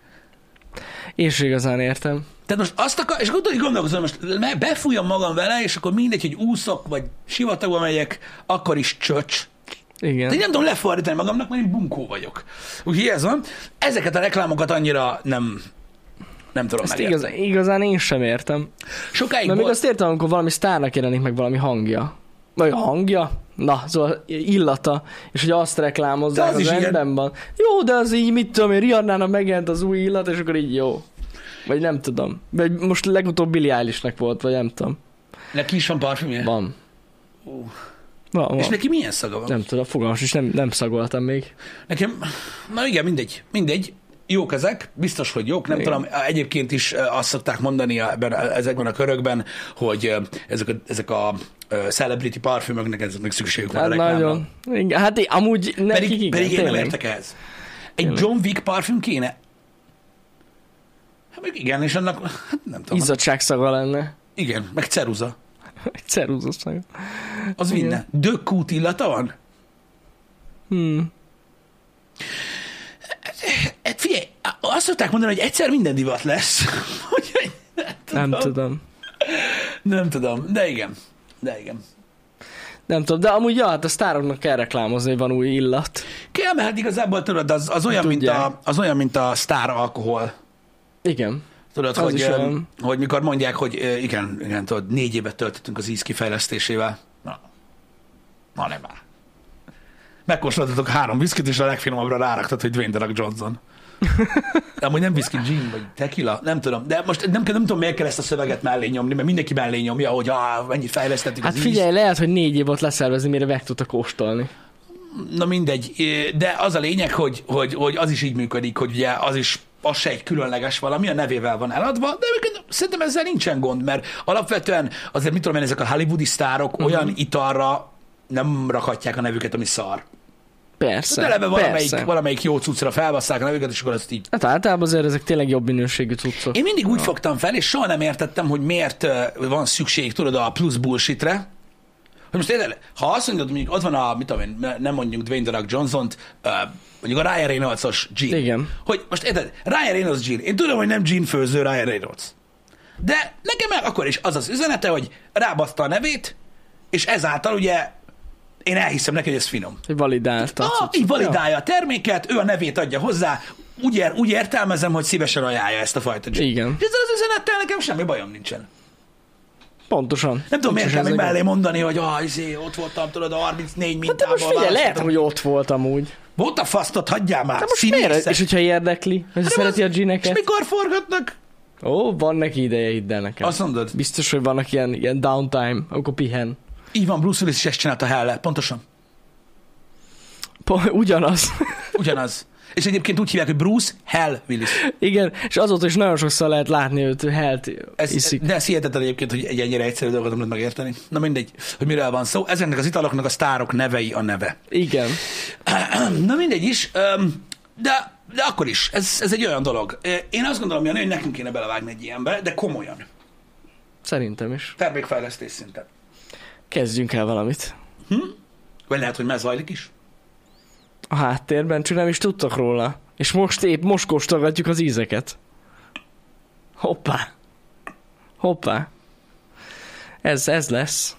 [SPEAKER 2] Én sem igazán értem.
[SPEAKER 1] Tehát most azt akar, és akkor tudod, hogy gondolkozom, most me- befújom magam vele, és akkor mindegy, hogy úszok, vagy sivatagba megyek, akkor is csöcs. De
[SPEAKER 2] Igen.
[SPEAKER 1] én nem tudom lefordítani magamnak, mert én bunkó vagyok. Úgyhogy ez van. Ezeket a reklámokat annyira nem, nem tudom
[SPEAKER 2] Ezt
[SPEAKER 1] megérteni.
[SPEAKER 2] igaz, igazán én sem értem.
[SPEAKER 1] Sokáig
[SPEAKER 2] Na még
[SPEAKER 1] volt,
[SPEAKER 2] azt értem, amikor valami sztárnak jelenik meg valami hangja. Vagy a hangja? Na, szóval illata, és hogy azt reklámozzák,
[SPEAKER 1] De az
[SPEAKER 2] az,
[SPEAKER 1] is ilyen.
[SPEAKER 2] rendben van. Jó, de az így, mit tudom én, Rihannának megjelent az új illat, és akkor így jó. Vagy nem tudom. Vagy most legutóbb Billie Eilishnek volt, vagy nem tudom.
[SPEAKER 1] neki is van parfümje.
[SPEAKER 2] Van. Van, van.
[SPEAKER 1] És neki milyen szaga van?
[SPEAKER 2] Nem tudom, fogalmas, és nem, nem szagoltam még.
[SPEAKER 1] Nekem, na igen, mindegy, mindegy. Jók ezek, biztos, hogy jók, nem
[SPEAKER 2] Igen.
[SPEAKER 1] tudom, egyébként is ö, azt szokták mondani ebben, ezekben a körökben, hogy ö, ezek a, ezek a ö, celebrity parfümöknek ezeknek szükségük van
[SPEAKER 2] Hát
[SPEAKER 1] a reklámra.
[SPEAKER 2] nagyon. Igen, hát én- amúgy nekik
[SPEAKER 1] Pedig,
[SPEAKER 2] igen,
[SPEAKER 1] pedig én nem
[SPEAKER 2] tényleg.
[SPEAKER 1] értek ehhez. Egy
[SPEAKER 2] Tényleg.
[SPEAKER 1] John Wick parfüm kéne? Hát meg igen, és annak, hát nem tudom.
[SPEAKER 2] Izzadságszaga lenne. <laughs>
[SPEAKER 1] Igen, meg ceruza.
[SPEAKER 2] Egy ceruzaszaga.
[SPEAKER 1] Az
[SPEAKER 2] Igen.
[SPEAKER 1] minden. Dökkút illata van?
[SPEAKER 2] Hmm.
[SPEAKER 1] Hát figyelj, azt szokták mondani, hogy egyszer minden divat lesz. <laughs> Hogy-
[SPEAKER 2] Nem tudom.
[SPEAKER 1] nem tudom, de igen. De igen.
[SPEAKER 2] Nem tudom, de amúgy ja, hát a sztároknak kell reklámozni, hogy van új illat.
[SPEAKER 1] Kell, mert hát igazából tudod, az, az, olyan, mint
[SPEAKER 2] Tudják.
[SPEAKER 1] a, az olyan, mint a sztár alkohol.
[SPEAKER 2] Igen.
[SPEAKER 1] Tudod,
[SPEAKER 2] Az
[SPEAKER 1] hogy,
[SPEAKER 2] is
[SPEAKER 1] ö,
[SPEAKER 2] olyan.
[SPEAKER 1] hogy mikor mondják, hogy ö, igen, igen, tudod, négy évet töltöttünk az íz kifejlesztésével. Na, na nem már. Megkóstoltatok három viszkit, és a legfinomabbra ráraktad, hogy Dwayne The Rock
[SPEAKER 2] <laughs>
[SPEAKER 1] Johnson. Amúgy nem viszki, gin, vagy tequila, nem tudom. De most nem, nem tudom, miért kell ezt a szöveget mellé nyomni, mert mindenki mellé nyomja, hogy ah, mennyit fejlesztettük
[SPEAKER 2] Hát
[SPEAKER 1] az
[SPEAKER 2] figyelj, lehet, hogy négy év ott leszervezni, mire meg tudta kóstolni.
[SPEAKER 1] Na mindegy, ö, de az a lényeg, hogy, hogy, hogy az is így működik, hogy ugye az is az se egy különleges valami, a nevével van eladva, de egyébként szerintem ezzel nincsen gond, mert alapvetően azért mit tudom én, ezek a hollywoodi sztárok
[SPEAKER 2] Mhm.
[SPEAKER 1] uh-huh. olyan italra nem rakhatják a nevüket, ami szar.
[SPEAKER 2] Persze.
[SPEAKER 1] De eleve valamelyik,
[SPEAKER 2] persze.
[SPEAKER 1] valamelyik jó cuccra felbasszák a nevüket, és akkor azt így
[SPEAKER 2] Hát általában azért ezek tényleg jobb minőségű cuccok.
[SPEAKER 1] én mindig úgy fogtam fel, és soha nem értettem, hogy miért ö, van szükség, tudod, a plusz bullshitre. Hogy most érted, ha azt mondod, mondjuk ott van a, mit tudom én, ne- nem mondjuk Dwayne The Rock Johnson-t, ö, mondjuk a Ryan Reynolds-os Gene.
[SPEAKER 2] Igen.
[SPEAKER 1] Hogy most érted, Ryan Reynolds Gene. Én tudom, hogy nem Gene főző Ryan Reynolds. De nekem meg akkor is az az üzenete, hogy rábaszta a nevét, és ezáltal ugye én elhiszem neki, hogy ez finom.
[SPEAKER 2] Hogy validálta. a
[SPEAKER 1] Ah,
[SPEAKER 2] cuccot.
[SPEAKER 1] így validálja a terméket, ő a nevét adja hozzá, úgy, ér, úgy értelmezem, hogy szívesen ajánlja ezt a fajta gin.
[SPEAKER 2] Igen.
[SPEAKER 1] És ezzel az üzenettel nekem semmi bajom nincsen.
[SPEAKER 2] Ja, pontosan.
[SPEAKER 1] Nem tudom, miért kell még
[SPEAKER 2] ezek-
[SPEAKER 1] mellé mondani, hogy ah, izé, ott voltam, tudod, a 34
[SPEAKER 2] Hát de
[SPEAKER 1] mintában.
[SPEAKER 2] most figyelj, lehet,
[SPEAKER 1] választottam. Hát
[SPEAKER 2] hogy ott volt amúgy.
[SPEAKER 1] Volt a fasztot, hagyjál már.
[SPEAKER 2] De most miért? És
[SPEAKER 1] És,
[SPEAKER 2] hogyha érdekli,
[SPEAKER 1] Hát
[SPEAKER 2] hogy szereti a
[SPEAKER 1] és
[SPEAKER 2] gineket.
[SPEAKER 1] mikor forgatnak?
[SPEAKER 2] Ó, van neki ideje, hidd el nekem.
[SPEAKER 1] Azt mondod,
[SPEAKER 2] Biztos, hogy vannak ilyen, ilyen downtime, akkor pihen.
[SPEAKER 1] így van, Bruce Willis is ezt csinálta helle, pontosan.
[SPEAKER 2] Po- <laughs> Ugyanaz.
[SPEAKER 1] Ugyanaz. És egyébként úgy hívják, hogy Bruce Hell Willis.
[SPEAKER 2] Igen, és azóta is nagyon sokszor lehet látni őt, helt
[SPEAKER 1] Ez,
[SPEAKER 2] iszik.
[SPEAKER 1] De ez hihetetlen egyébként, hogy egy ennyire egyszerű dolgot nem lehet megérteni. Na mindegy, hogy miről van szó. Ezeknek az italoknak a sztárok nevei a neve. <clears throat>
[SPEAKER 2] Igen.
[SPEAKER 1] Na mindegy is, öm, de, de akkor is, ez, ez egy olyan dolog. Én azt gondolom, Jani, hogy nekünk kéne belevágni egy ilyenbe, de komolyan.
[SPEAKER 2] Szerintem is.
[SPEAKER 1] Termékfejlesztés szinten.
[SPEAKER 2] Kezdjünk el valamit.
[SPEAKER 1] Vagy lehet, hogy már zajlik is.
[SPEAKER 2] A háttérben, csak nem is tudtak róla. És most épp most kóstolgatjuk az ízeket. Hoppá. Hoppá. Ez, ez lesz.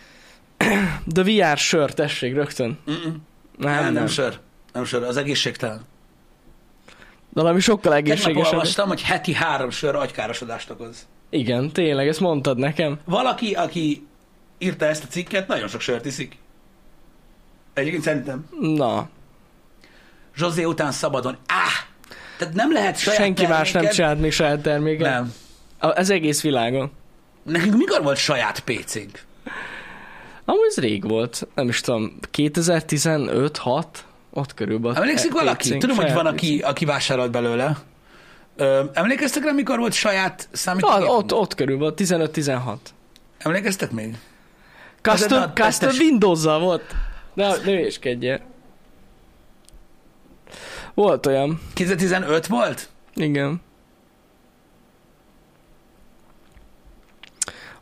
[SPEAKER 2] <clears throat> De VR sör, tessék, rögtön.
[SPEAKER 1] Mm-mm.
[SPEAKER 2] Nem,
[SPEAKER 1] Nem, nem,
[SPEAKER 2] nem.
[SPEAKER 1] nem sör. Nem sör, az egészségtelen.
[SPEAKER 2] Valami sokkal
[SPEAKER 1] Tegnap
[SPEAKER 2] egészségesebb.
[SPEAKER 1] olvastam, hogy heti három sör agykárosodást okoz.
[SPEAKER 2] Igen, tényleg, ezt mondtad nekem.
[SPEAKER 1] Valaki, aki írta ezt a cikket, nagyon sok sört iszik. Egyébként szerintem.
[SPEAKER 2] Na,
[SPEAKER 1] Zsozé után szabadon. Áh! Tehát nem lehet Hát saját
[SPEAKER 2] senki más nem
[SPEAKER 1] terméked-
[SPEAKER 2] csinált még saját terméket.
[SPEAKER 1] Nem.
[SPEAKER 2] A- Az egész világon.
[SPEAKER 1] Nekünk mikor volt saját PC-nk?
[SPEAKER 2] Amúgy ez rég volt, nem is tudom, 2015-6, ott körülbelül.
[SPEAKER 1] Emlékszik
[SPEAKER 2] E-
[SPEAKER 1] valaki?
[SPEAKER 2] pécénk,
[SPEAKER 1] Tudom, hogy
[SPEAKER 2] saját
[SPEAKER 1] van, aki,
[SPEAKER 2] pécénk.
[SPEAKER 1] aki vásárolt belőle. Ö, emlékeztek rá, mikor volt saját számítógép?
[SPEAKER 2] Na, ott, ott körülbelül, 15-16.
[SPEAKER 1] Emlékeztek még?
[SPEAKER 2] Custom,
[SPEAKER 1] a
[SPEAKER 2] custom
[SPEAKER 1] tettes-
[SPEAKER 2] windows volt. De ne hülyéskedjél. Volt olyan,
[SPEAKER 1] 2015 volt?
[SPEAKER 2] igen.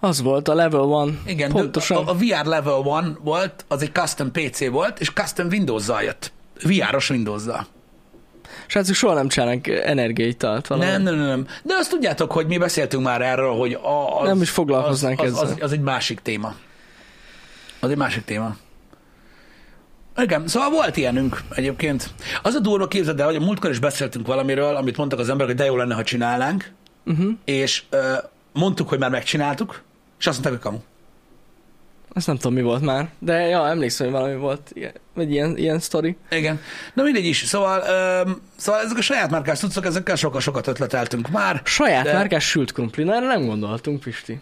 [SPEAKER 2] Az volt a level one.
[SPEAKER 1] Igen, de
[SPEAKER 2] Pontosan.
[SPEAKER 1] A, a VR Level 1 volt, az egy custom PC volt, és custom Windows-zal jött. VR-os Windows-zal.
[SPEAKER 2] Srácok, soha nem csinálnak energiaitalt valami.
[SPEAKER 1] Nem, nem, nem, nem. De azt tudjátok, hogy mi beszéltünk már erről, hogy a, az,
[SPEAKER 2] Nem is foglalkoznánk
[SPEAKER 1] az, az, az,
[SPEAKER 2] ezzel.
[SPEAKER 1] az egy másik téma. Az egy másik téma. Igen, szóval volt ilyenünk egyébként. Az a durva képzeld el, hogy a múltkor is beszéltünk valamiről, amit mondtak az emberek, hogy de jó lenne, ha csinálnánk,
[SPEAKER 2] Uh-huh.
[SPEAKER 1] és ö, mondtuk, hogy már megcsináltuk, és azt mondták, hogy kamu.
[SPEAKER 2] Azt nem tudom, mi volt már. De ja, emlékszem, hogy valami volt. ilyen- Vagy ilyen, ilyen sztori.
[SPEAKER 1] Igen. Na mindegy is. Szóval, öm, szóval ezek a saját márkás cuccok, ezekkel sokat-sokat ötleteltünk már.
[SPEAKER 2] Saját
[SPEAKER 1] De-
[SPEAKER 2] de... márkás sült krumpli. Na, erre nem gondoltunk, Pisti.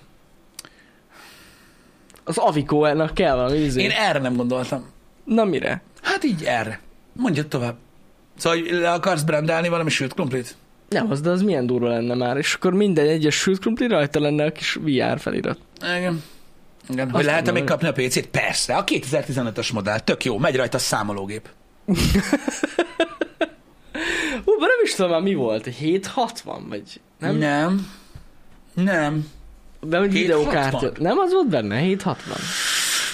[SPEAKER 2] az Avikónak kell valami izé.
[SPEAKER 1] Én e- erre nem gondoltam.
[SPEAKER 2] Na mire?
[SPEAKER 1] Hát így erre. Mondjad tovább. Szóval hogy le akarsz brandelni valami sült krumplit?
[SPEAKER 2] Nem az, de az milyen durva lenne már. És akkor minden egyes sült krumpli rajta lenne a kis VR felirat.
[SPEAKER 1] Igen. Igen. Hogy
[SPEAKER 2] Azt
[SPEAKER 1] lehet még
[SPEAKER 2] mondom,
[SPEAKER 1] kapni a PC-t? Persze, a 2015-ös modell, tök jó, megy rajta a számológép.
[SPEAKER 2] Ú, de nem is tudom már mi volt. 760 vagy? Nem? Ne.
[SPEAKER 1] Nem. Nem.
[SPEAKER 2] De
[SPEAKER 1] 760?
[SPEAKER 2] hogy videókártya. Nem az volt benne? 760.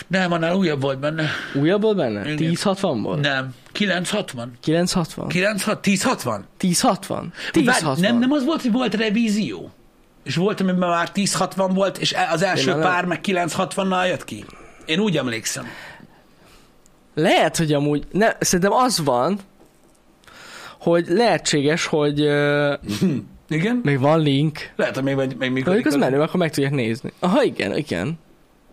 [SPEAKER 1] Nem, annál újabb volt benne.
[SPEAKER 2] Újabb volt benne?
[SPEAKER 1] Igen.
[SPEAKER 2] 1060 volt?
[SPEAKER 1] Nem. 960.
[SPEAKER 2] 960?
[SPEAKER 1] 960. 1060?
[SPEAKER 2] 1060?
[SPEAKER 1] Várj,
[SPEAKER 2] 1060.
[SPEAKER 1] Nem, nem az volt, hogy volt revízió. És volt, amiben már 1060 volt, és e- az első
[SPEAKER 2] Én nem-
[SPEAKER 1] pár meg 960-nal jött ki. Én úgy emlékszem.
[SPEAKER 2] Lehet, hogy amúgy... Ne, szerintem az van, hogy lehetséges, hogy uh,
[SPEAKER 1] Igen?
[SPEAKER 2] még van link.
[SPEAKER 1] Lehet, hogy még, még, még működik.
[SPEAKER 2] Mondjuk az menő, akkor meg tudják nézni. Aha, igen, igen.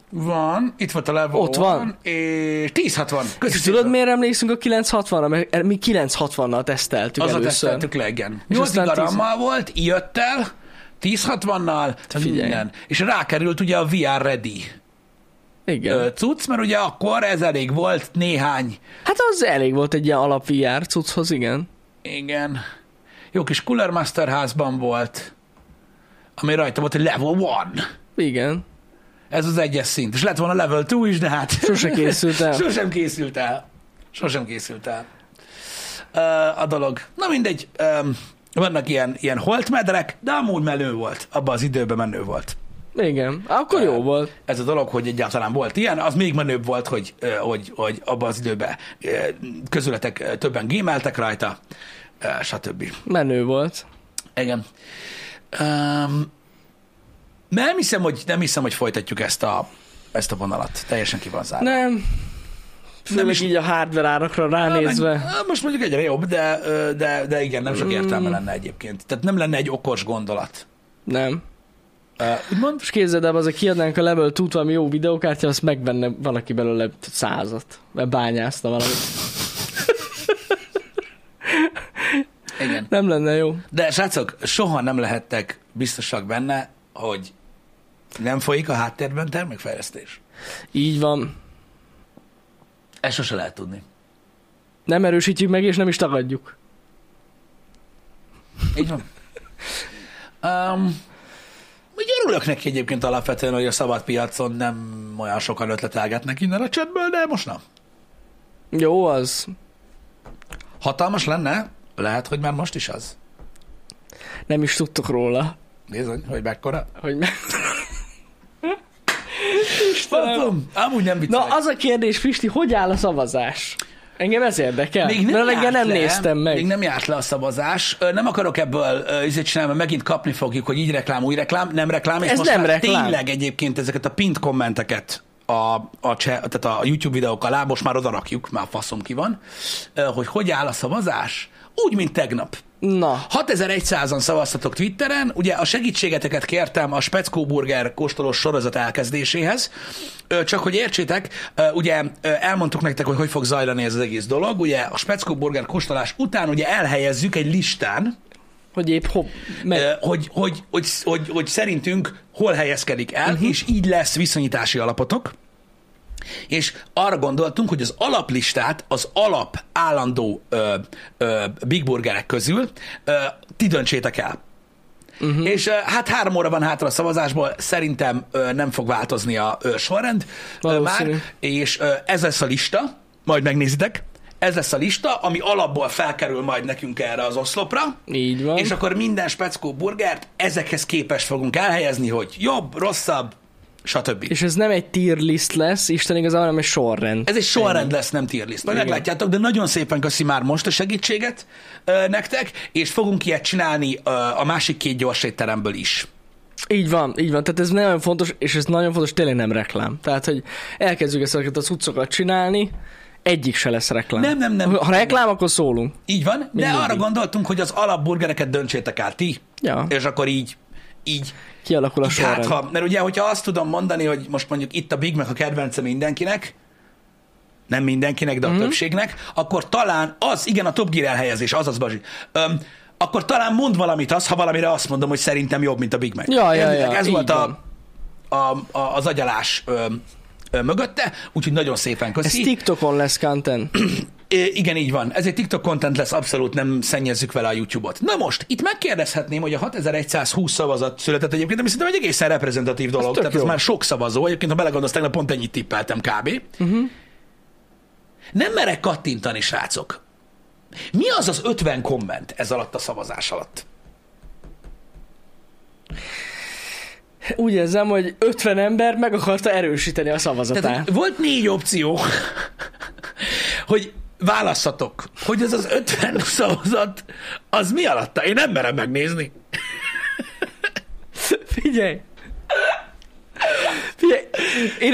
[SPEAKER 1] Van, itt volt a level.
[SPEAKER 2] Ott van.
[SPEAKER 1] És 1060.
[SPEAKER 2] És
[SPEAKER 1] Köszönöm.
[SPEAKER 2] tudod, miért emlékszünk a 960-ra? Mert eh, mi 960-nal teszteltük
[SPEAKER 1] Az a
[SPEAKER 2] először.
[SPEAKER 1] teszteltük le, igen. 8
[SPEAKER 2] aztán
[SPEAKER 1] garammal volt, jött el, 1060-nal,
[SPEAKER 2] figyelj.
[SPEAKER 1] minden. És rákerült ugye a VR Ready
[SPEAKER 2] Igen.
[SPEAKER 1] ö, cucc, mert ugye akkor ez elég volt néhány.
[SPEAKER 2] Hát az elég volt egy ilyen alap VR cucchoz, igen.
[SPEAKER 1] Igen. Jó kis Cooler Master házban volt, ami rajta volt, hogy level 1.
[SPEAKER 2] Igen.
[SPEAKER 1] Ez az egyes szint. És lett volna level 2 is, de hát...
[SPEAKER 2] Sose készült el.
[SPEAKER 1] <laughs> Sosem készült el. Sosem készült el. Ö, A dolog. Na mindegy, öm, vannak ilyen, ilyen holtmedrek, de amúgy menő volt. Abban az időben menő volt.
[SPEAKER 2] Igen. Akkor jó volt.
[SPEAKER 1] Ez a dolog, hogy egyáltalán volt ilyen, az még menőbb volt, hogy, ö, hogy, hogy abban az időben ö, közületek ö, többen gémeltek rajta, ö, stb.
[SPEAKER 2] Menő volt.
[SPEAKER 1] Igen. Um, nem, hiszem, hogy, nem hiszem, hogy folytatjuk ezt a, ezt a vonalat. Teljesen ki van zárva.
[SPEAKER 2] Nem. Nem
[SPEAKER 1] is-
[SPEAKER 2] is így a hardware árakra
[SPEAKER 1] Na,
[SPEAKER 2] ránézve.
[SPEAKER 1] Hát, meg- Most mondjuk egyre jobb, de, ö, de, de igen, nem sok értelme lenne egyébként. Tehát nem lenne egy okos gondolat.
[SPEAKER 2] Nem.
[SPEAKER 1] Ö, Úgymond?
[SPEAKER 2] És képzeld el, azért kiadnánk a level 2 valami jó videókártya, azt megvenne valaki belőle százat. Mert bányászta valamit.
[SPEAKER 1] Igen.
[SPEAKER 2] Nem lenne jó.
[SPEAKER 1] De srácok, soha nem lehettek biztosak benne, hogy nem folyik a háttérben termékfejlesztés.
[SPEAKER 2] Így van.
[SPEAKER 1] Ezt sose lehet tudni.
[SPEAKER 2] Nem erősítjük meg, és nem is tagadjuk.
[SPEAKER 1] Így van. Um, ugye örülök neki egyébként alapvetően, hogy a szabad piacon nem olyan sokan ötletelgetnek innen a chatből, de most nem.
[SPEAKER 2] Jó az.
[SPEAKER 1] Hatalmas lenne, lehet, hogy már most is az.
[SPEAKER 2] Nem is tudtuk róla.
[SPEAKER 1] Nézd, hogy mekkora.
[SPEAKER 2] Hogy meg...
[SPEAKER 1] Fantóm, amúgy nem
[SPEAKER 2] Na,
[SPEAKER 1] viccelek.
[SPEAKER 2] az a kérdés, Pisti, hogy áll a szavazás? Engem ez érdekel.
[SPEAKER 1] Még nem,
[SPEAKER 2] Mert engem
[SPEAKER 1] járt
[SPEAKER 2] nem
[SPEAKER 1] le,
[SPEAKER 2] néztem meg.
[SPEAKER 1] Még nem járt le a szavazás. Ö, Nem akarok ebből ö, izét csinálni, mert megint kapni fogjuk, hogy így reklám, úgy reklám, nem reklám. És
[SPEAKER 2] Ez
[SPEAKER 1] most
[SPEAKER 2] nem
[SPEAKER 1] már
[SPEAKER 2] reklám.
[SPEAKER 1] Tényleg egyébként ezeket a pint kommenteket a, a, cse, tehát a YouTube videók alá, most már oda rakjuk, már faszom ki van, ö, hogy hogy áll a szavazás. Úgy, mint tegnap.
[SPEAKER 2] Na,
[SPEAKER 1] 6100-an szavaztatok Twitteren, ugye a segítségeteket kértem a Speckó Burger kóstolós sorozat elkezdéséhez, Ö, csak hogy értsétek, ö, ugye ö, elmondtuk nektek, hogy hogy fog zajlani ez az egész dolog, ugye a Speckó Burger kóstolás után ugye elhelyezzük egy listán,
[SPEAKER 2] hogy épp hopp, meg...
[SPEAKER 1] ö, hogy, hogy, hogy, hogy, hogy szerintünk hol helyezkedik el,
[SPEAKER 2] Mhm.
[SPEAKER 1] uh-huh. és így lesz viszonyítási alapotok. És arra gondoltunk, hogy az alaplistát az alap állandó ö, ö, Big Burgerek közül ö, ti döntsétek el.
[SPEAKER 2] Mhm.
[SPEAKER 1] Uh-huh. És ö, hát három óra van hátra a szavazásból, szerintem ö, nem fog változni a ö, sorrend ö, már,
[SPEAKER 2] Valószínű.
[SPEAKER 1] és ö, ez lesz a lista, majd megnézitek, ez lesz a lista, ami alapból felkerül majd nekünk erre az oszlopra.
[SPEAKER 2] Így van.
[SPEAKER 1] És akkor minden speckó burgert ezekhez képes fogunk elhelyezni, hogy jobb, rosszabb, stb.
[SPEAKER 2] És ez nem egy tier list lesz, Isten igazából, hanem egy sorrend.
[SPEAKER 1] Ez egy sorrend lesz, nem tier list. Majd
[SPEAKER 2] Igen.
[SPEAKER 1] meglátjátok, de nagyon szépen köszi már most a segítséget ö, nektek, és fogunk ilyet csinálni ö, a másik két gyors étteremből is.
[SPEAKER 2] Így van, így van. Tehát ez nagyon fontos, és ez nagyon fontos, tényleg nem reklám. Tehát, hogy elkezdjük ezeket a cuccokat csinálni, egyik se lesz reklám.
[SPEAKER 1] Nem, nem, nem.
[SPEAKER 2] Ha reklám, akkor szólunk.
[SPEAKER 1] Így van, de
[SPEAKER 2] Mindig.
[SPEAKER 1] arra gondoltunk, hogy az alapburgereket döntsétek el ti,
[SPEAKER 2] Ja.
[SPEAKER 1] és akkor így, így
[SPEAKER 2] Kialakul a sorrend.
[SPEAKER 1] Hát, ha, mert ugye, hogyha azt tudom mondani, hogy most mondjuk itt a Big Mac a kedvence mindenkinek, nem mindenkinek, de
[SPEAKER 2] Mhm.
[SPEAKER 1] a többségnek, akkor talán az, igen, a Top Gear elhelyezés, azaz, Bazsi, öm, akkor talán mond valamit az, ha valamire azt mondom, hogy szerintem jobb, mint a Big Mac.
[SPEAKER 2] Ja, ja,
[SPEAKER 1] Értitek?
[SPEAKER 2] ja,
[SPEAKER 1] Ez
[SPEAKER 2] így
[SPEAKER 1] volt a,
[SPEAKER 2] van.
[SPEAKER 1] a, a, az agyalás öm, ö, mögötte, úgyhogy nagyon szépen
[SPEAKER 2] Ez
[SPEAKER 1] köszi.
[SPEAKER 2] TikTokon lesz content.
[SPEAKER 1] É, igen, így van. Ez egy TikTok content lesz, abszolút nem szennyezzük vele a YouTube-ot. Na most, itt megkérdezhetném, hogy a 6120 szavazat született egyébként, ami szerintem egy egészen reprezentatív dolog.
[SPEAKER 2] tök
[SPEAKER 1] Tehát ez
[SPEAKER 2] jó.
[SPEAKER 1] már sok szavazó. Egyébként, ha belegondolsz, tegnap pont ennyit tippeltem kb. Uh-huh. Nem merek kattintani, srácok. Mi az az 50 komment ez alatt a szavazás alatt?
[SPEAKER 2] <clears throat> Úgy érzem, hogy 50 ember meg akarta erősíteni a
[SPEAKER 1] Tehát
[SPEAKER 2] szavazatát.
[SPEAKER 1] hogy volt négy opció, <laughs> hogy választhatok, hogy ez az 50 szavazat, az mi alatta? Én nem merem megnézni.
[SPEAKER 2] <laughs> Figyelj! Figyelj! Én,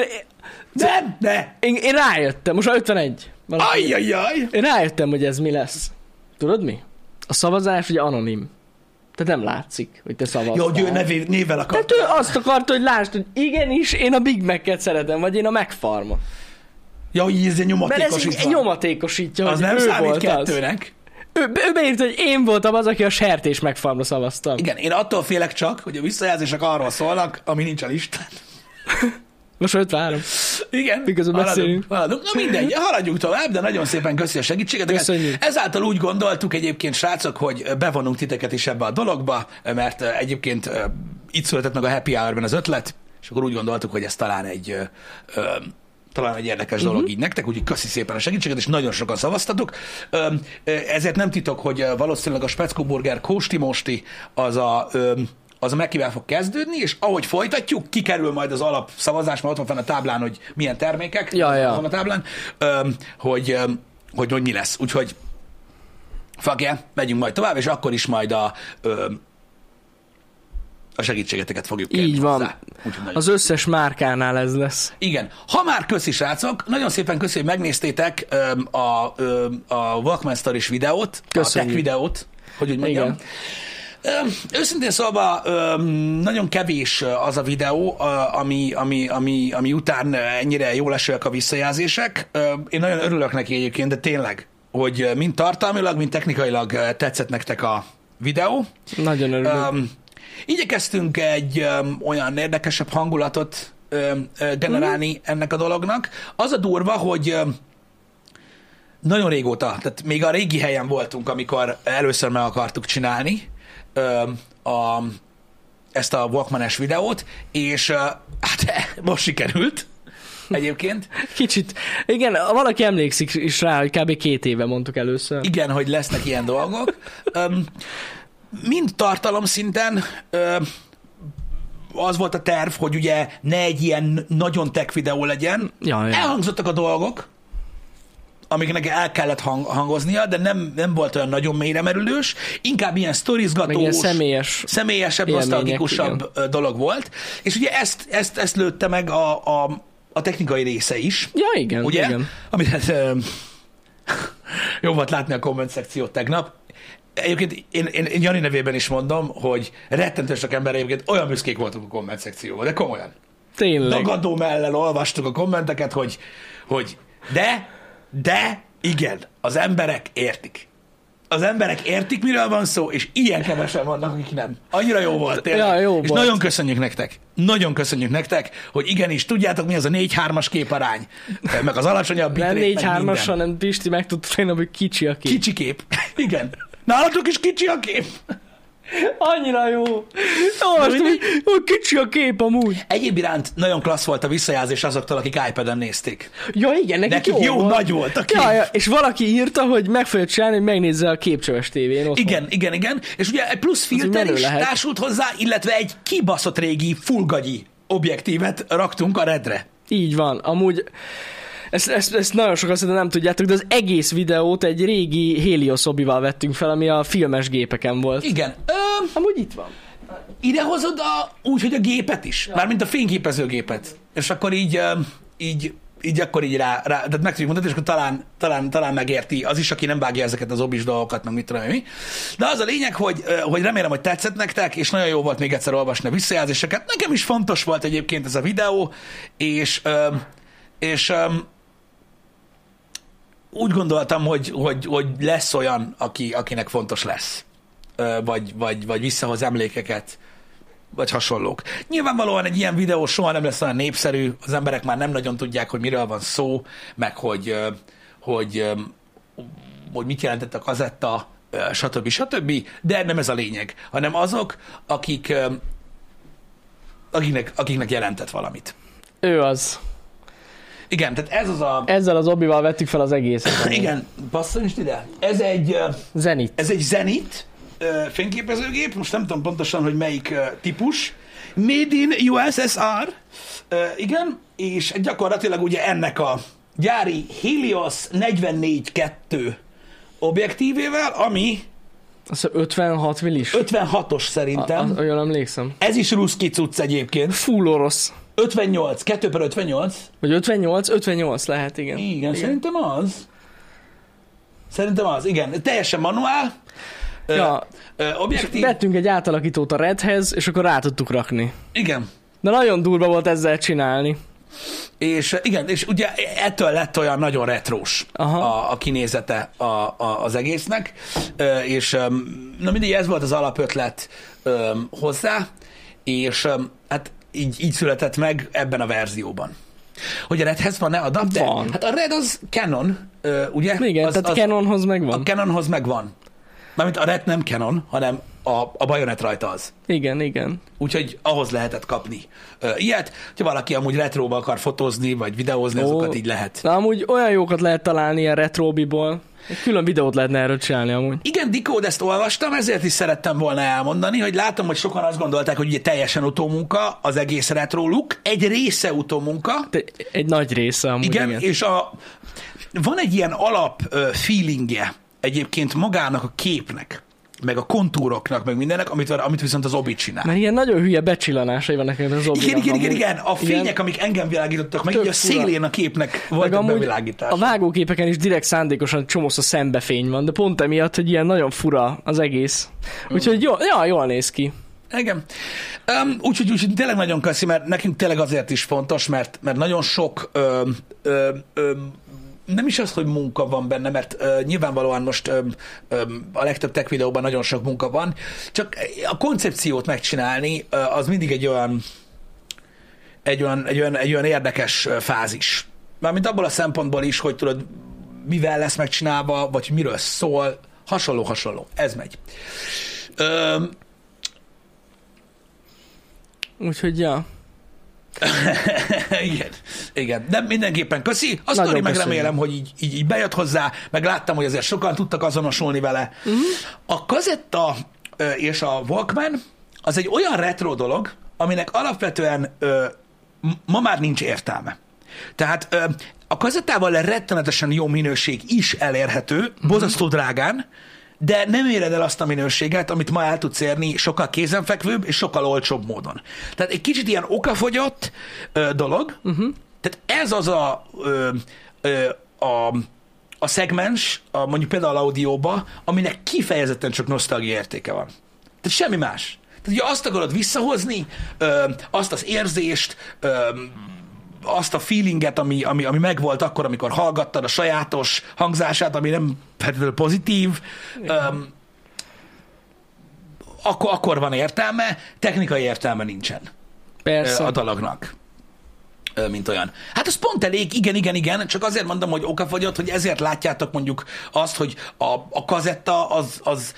[SPEAKER 1] Nem, ne!
[SPEAKER 2] én, én rájöttem, most már 51. Valami.
[SPEAKER 1] Ajjajjaj!
[SPEAKER 2] Én rájöttem, hogy ez mi lesz. Tudod mi? A szavazás ugye anonim. Tehát nem látszik, hogy te szavaztál.
[SPEAKER 1] Jó, hogy ő nevé, névvel akar.
[SPEAKER 2] Tehát Hát ő azt akarta, hogy lásd, hogy igenis, én a Big Mac-et szeretem, vagy én a megfarmot.
[SPEAKER 1] Ja, hogy így
[SPEAKER 2] Mert ez
[SPEAKER 1] nyomatékos
[SPEAKER 2] így nyomatékosítja,
[SPEAKER 1] Az
[SPEAKER 2] hogy
[SPEAKER 1] nem
[SPEAKER 2] ő
[SPEAKER 1] számít
[SPEAKER 2] volt az.
[SPEAKER 1] kettőnek.
[SPEAKER 2] Ő, ő beírta, hogy én voltam az, aki a sertés megfarmra szavaztam.
[SPEAKER 1] Igen, én attól félek csak, hogy a visszajelzések arról szólnak, ami nincs a listán.
[SPEAKER 2] Most 53.
[SPEAKER 1] Igen.
[SPEAKER 2] Miközben
[SPEAKER 1] haladunk,
[SPEAKER 2] beszélünk.
[SPEAKER 1] haladunk. Na mindegy, haladjunk tovább, de nagyon szépen köszi a segítségeteket.
[SPEAKER 2] Köszönjük.
[SPEAKER 1] Ezáltal úgy gondoltuk egyébként, srácok, hogy bevonunk titeket is ebbe a dologba, mert ö, egyébként ö, itt született meg a Happy Hour-ben az ötlet, és akkor úgy gondoltuk, hogy ez talán egy ö, ö, talán egy érdekes dolog így nektek, úgyhogy köszi szépen a segítséget, és nagyon sokan szavaztatok. Ö, ö, Ezért nem titok, hogy ö, valószínűleg a Speckó Burger Kósti Mosti az a ö, az a mekivel fog kezdődni, és ahogy folytatjuk, kikerül majd az alapszavazás, mert ott van fenn a táblán, hogy milyen termékek
[SPEAKER 2] Ja, ja.
[SPEAKER 1] ott van a táblán, öm, hogy, öm, hogy, hogy mi lesz. Úgyhogy fuck yeah, megyünk majd tovább, és akkor is majd a, öm, a segítségeteket fogjuk kérni
[SPEAKER 2] Így van.
[SPEAKER 1] hozzá. Úgyhogy nagyon
[SPEAKER 2] Az összes márkánál ez lesz.
[SPEAKER 1] igen. Ha már köszi, srácok, nagyon szépen köszi, hogy megnéztétek öm, a, öm, a Walkman Stories videót,
[SPEAKER 2] Köszönjük.
[SPEAKER 1] a tech videót, hogy úgy mondjam.
[SPEAKER 2] Igen.
[SPEAKER 1] Öm, Őszintén szólva, öm, nagyon kevés az a videó, ö, ami, ami, ami, ami után ennyire jól esőek a visszajelzések. Öm, Én nagyon örülök neki egyébként, de tényleg, hogy ö, mind tartalmilag, mind technikailag ö, tetszett nektek a videó.
[SPEAKER 2] Nagyon örülök.
[SPEAKER 1] Um, igyekeztünk egy um, olyan érdekesebb hangulatot um, generálni
[SPEAKER 2] Mhm.
[SPEAKER 1] mm. ennek a dolognak. Az a durva, hogy um, nagyon régóta, tehát még a régi helyen voltunk, amikor először meg akartuk csinálni um, a, ezt a Walkman-es videót, és uh, hát <laughs> most sikerült egyébként.
[SPEAKER 2] Kicsit. Igen, valaki emlékszik is rá, hogy kb. két éve mondtuk először.
[SPEAKER 1] Igen, hogy lesznek ilyen dolgok. Öm, mind tartalom szinten öm, az volt a terv, hogy ugye ne egy ilyen nagyon tech videó legyen.
[SPEAKER 2] Ja, ja.
[SPEAKER 1] Elhangzottak a dolgok, amiknek el kellett hang- hangoznia, de nem, nem volt olyan nagyon mélyre merülős, inkább ilyen
[SPEAKER 2] Meg ilyen
[SPEAKER 1] sztorizgatós,
[SPEAKER 2] személyes.
[SPEAKER 1] személyesebb,
[SPEAKER 2] Élmények,
[SPEAKER 1] nosztalgikusabb ö, dolog volt, és ugye ezt, ezt, ezt lőtte meg a, a, a technikai része is,
[SPEAKER 2] Ja, igen,
[SPEAKER 1] ugye?
[SPEAKER 2] igen.
[SPEAKER 1] Amit hát ö, <laughs> jó volt látni a komment szekciót tegnap. Egyébként én, én, én Jani nevében is mondom, hogy rettentő sok ember egyébként olyan büszkék voltunk a komment szekcióban, de komolyan.
[SPEAKER 2] Tényleg.
[SPEAKER 1] Dagadó mellel olvastuk a kommenteket, hogy, hogy de, de, igen, az emberek értik. Az emberek értik, miről van szó, és ilyen kevesen vannak, akik nem. Annyira jó volt, tényleg.
[SPEAKER 2] Ja, jó
[SPEAKER 1] és
[SPEAKER 2] volt.
[SPEAKER 1] nagyon köszönjük nektek. Nagyon köszönjük nektek, hogy igenis, tudjátok, mi az a 4-3-as képarány, meg az alacsonyabb bitrate,
[SPEAKER 2] Nem
[SPEAKER 1] meg
[SPEAKER 2] 4 3
[SPEAKER 1] minden.
[SPEAKER 2] hanem Pisti megtudta tegnap, hogy kicsi a kép.
[SPEAKER 1] Kicsi kép. Igen. Nálatok is kicsi a kép.
[SPEAKER 2] Annyira jó. Olvastam, hogy ó, kicsi a kép amúgy.
[SPEAKER 1] Egyéb iránt nagyon klassz volt a visszajelzés azoktól, akik iPad-en nézték.
[SPEAKER 2] Ja, igen, nekik,
[SPEAKER 1] Nekik jó,
[SPEAKER 2] volt.
[SPEAKER 1] nagy volt a kép.
[SPEAKER 2] Ja, ja, és valaki írta, hogy meg fogja csinálni, hogy megnézze a képcsöves tévén. Otthon.
[SPEAKER 1] Igen, igen, igen. És ugye egy plusz filter
[SPEAKER 2] menő
[SPEAKER 1] is
[SPEAKER 2] lehet.
[SPEAKER 1] társult hozzá, illetve egy kibaszott régi fullgagyi objektívet raktunk a redre.
[SPEAKER 2] Így van. Amúgy ezt, ezt, ezt nagyon sokan szerintem nem tudjátok, de az egész videót egy régi Helios obival vettünk fel, ami a filmes gépeken volt.
[SPEAKER 1] Igen. Ö,
[SPEAKER 2] Amúgy itt van.
[SPEAKER 1] idehozod a, úgy, hogy a gépet is. Mármint a fényképezőgépet. És akkor így, ö, így így akkor így rá, rá tehát meg tudjuk mutatni, és akkor talán, talán, talán megérti az is, aki nem vágja ezeket az obis dolgokat, meg mit tudom én mi. De az a lényeg, hogy, ö, hogy remélem, hogy tetszett nektek, és nagyon jó volt még egyszer olvasni a visszajelzéseket. Nekem is fontos volt egyébként ez a videó, és, ö, és ö, úgy gondoltam, hogy, hogy, hogy lesz olyan, aki, akinek fontos lesz. Ö, Vagy, vagy, vagy visszahoz emlékeket, vagy hasonlók. Nyilvánvalóan egy ilyen videó soha nem lesz olyan népszerű, az emberek már nem nagyon tudják, hogy miről van szó, meg hogy, ö, hogy, ö, hogy mit jelentett a kazetta, ö, stb. stb. De nem ez a lényeg, hanem azok, akik, ö, akiknek, akiknek jelentett valamit.
[SPEAKER 2] Ő az.
[SPEAKER 1] Igen, tehát ez az a...
[SPEAKER 2] Ezzel az obival vettük fel az egészet.
[SPEAKER 1] Igen, passzol is ide. Ez egy, ö,
[SPEAKER 2] Zenit.
[SPEAKER 1] ez egy zenit ö, fényképezőgép, most nem tudom pontosan, hogy melyik ö, típus. Made in USSR, ö, igen, és gyakorlatilag ugye ennek a gyári Helios 44.2 objektívével, ami
[SPEAKER 2] Azt hiszem 56 millis.
[SPEAKER 1] 56-os
[SPEAKER 2] A- a-
[SPEAKER 1] szerintem.
[SPEAKER 2] Olyan ah, emlékszem.
[SPEAKER 1] Ez is ruszki cucc egyébként.
[SPEAKER 2] Full orosz.
[SPEAKER 1] 58, 2 per 58.
[SPEAKER 2] Vagy 58? 58 lehet, igen.
[SPEAKER 1] Igen, igen, szerintem az. Szerintem az, igen. Teljesen manuál. ö,
[SPEAKER 2] Ja,
[SPEAKER 1] ö,
[SPEAKER 2] és
[SPEAKER 1] objektív.
[SPEAKER 2] vettünk egy átalakítót a Redhez, és akkor rá tudtuk rakni.
[SPEAKER 1] Igen.
[SPEAKER 2] De nagyon durva volt ezzel csinálni.
[SPEAKER 1] És eh, igen, és ugye ettől lett olyan nagyon retrós
[SPEAKER 2] Aha.
[SPEAKER 1] a, a kinézete a, a, az egésznek, Ö, és öm, na mindig ez volt az alapötlet öm, hozzá, és öm, hát így, így született meg ebben a verzióban. Hogy a Redhez van-e adapter?
[SPEAKER 2] Van.
[SPEAKER 1] Hát a Red az Canon, ö, ugye?
[SPEAKER 2] Igen,
[SPEAKER 1] az,
[SPEAKER 2] tehát Canonhoz megvan.
[SPEAKER 1] A Canonhoz megvan. Mármint a Red nem Canon, hanem a, a bajonet rajta az.
[SPEAKER 2] Igen, igen.
[SPEAKER 1] Úgyhogy ahhoz lehetett kapni ö, ilyet. Ha valaki amúgy retróba akar fotózni, vagy videózni, Ó. azokat így lehet.
[SPEAKER 2] Na amúgy olyan jókat lehet találni ilyen retrobiból. Egy külön videót lehetne erről csinálni amúgy.
[SPEAKER 1] Igen, Dikód, ezt olvastam, ezért is szerettem volna elmondani, hogy látom, hogy sokan azt gondolták, hogy ugye teljesen utómunka az egész retro look, egy része utómunka,
[SPEAKER 2] Te- Egy nagy része amúgy.
[SPEAKER 1] igen, igen, és a, van egy ilyen alap ö, feelingje egyébként magának a képnek, meg a kontúroknak, meg mindennek, amit, amit viszont az obi csinál.
[SPEAKER 2] Mert ilyen nagyon hülye becsillanásai vannak ennek az
[SPEAKER 1] Igen, igen,
[SPEAKER 2] obinak
[SPEAKER 1] igen,
[SPEAKER 2] amúgy.
[SPEAKER 1] igen, a fények, amik engem világítottak meg,
[SPEAKER 2] Tök
[SPEAKER 1] így a
[SPEAKER 2] fura.
[SPEAKER 1] szélén a képnek
[SPEAKER 2] Meg
[SPEAKER 1] volt
[SPEAKER 2] amúgy
[SPEAKER 1] bevilágítás.
[SPEAKER 2] a vágóképeken is direkt szándékosan csomószor szembefény van, de pont emiatt, hogy ilyen nagyon fura az egész.
[SPEAKER 1] Mm.
[SPEAKER 2] Úgyhogy jól, ja, jól néz ki.
[SPEAKER 1] Igen. Um, úgyhogy, úgyhogy tényleg nagyon köszi, mert nekünk tényleg azért is fontos, mert, mert nagyon sok ö, ö, ö, nem is az, hogy munka van benne, mert ö, nyilvánvalóan most ö, ö, a legtöbb tech videóban nagyon sok munka van, csak a koncepciót megcsinálni ö, az mindig egy olyan egy olyan, egy olyan, egy olyan érdekes ö, fázis. Mármint abból a szempontból is, hogy tudod, mivel lesz megcsinálva, vagy miről szól, hasonló, hasonló. Ez megy. Öm,
[SPEAKER 2] Úgyhogy ja.
[SPEAKER 1] <laughs> igen, igen. De mindenképpen köszi. A
[SPEAKER 2] Nagyon
[SPEAKER 1] sztori meg
[SPEAKER 2] köszönjük.
[SPEAKER 1] remélem, hogy így, így, így bejött hozzá, meg láttam, hogy azért sokan tudtak azonosulni vele.
[SPEAKER 2] Mhm.
[SPEAKER 1] Uh-huh. A kazetta ö, és a Walkman az egy olyan retro dolog, aminek alapvetően ö, m- ma már nincs értelme. Tehát ö, a kazettával rettenetesen jó minőség is elérhető,
[SPEAKER 2] Mhm.
[SPEAKER 1] uh-huh. bozasztó drágán, de nem éred el azt a minőséget, amit ma el tudsz érni sokkal kézenfekvőbb és sokkal olcsóbb módon. Tehát egy kicsit ilyen okafogyott ö, dolog, uh-huh. tehát ez az a, ö, ö, a, a szegmens, a, mondjuk például audióba, aminek kifejezetten csak nosztalgia értéke van. Tehát semmi más. Tehát ugye azt akarod visszahozni, ö, azt az érzést, ö, azt a feelinget, ami, ami, ami megvolt akkor, amikor hallgattad a sajátos hangzását, ami nem feltétlenül pozitív, öm, akkor, akkor van értelme, technikai értelme nincsen
[SPEAKER 2] Persze.
[SPEAKER 1] ö, a dalagnak, ö, mint olyan. Hát ez pont elég, igen, igen, igen, csak azért mondom, hogy okafogyott, hogy ezért látjátok mondjuk azt, hogy a, a kazetta az, az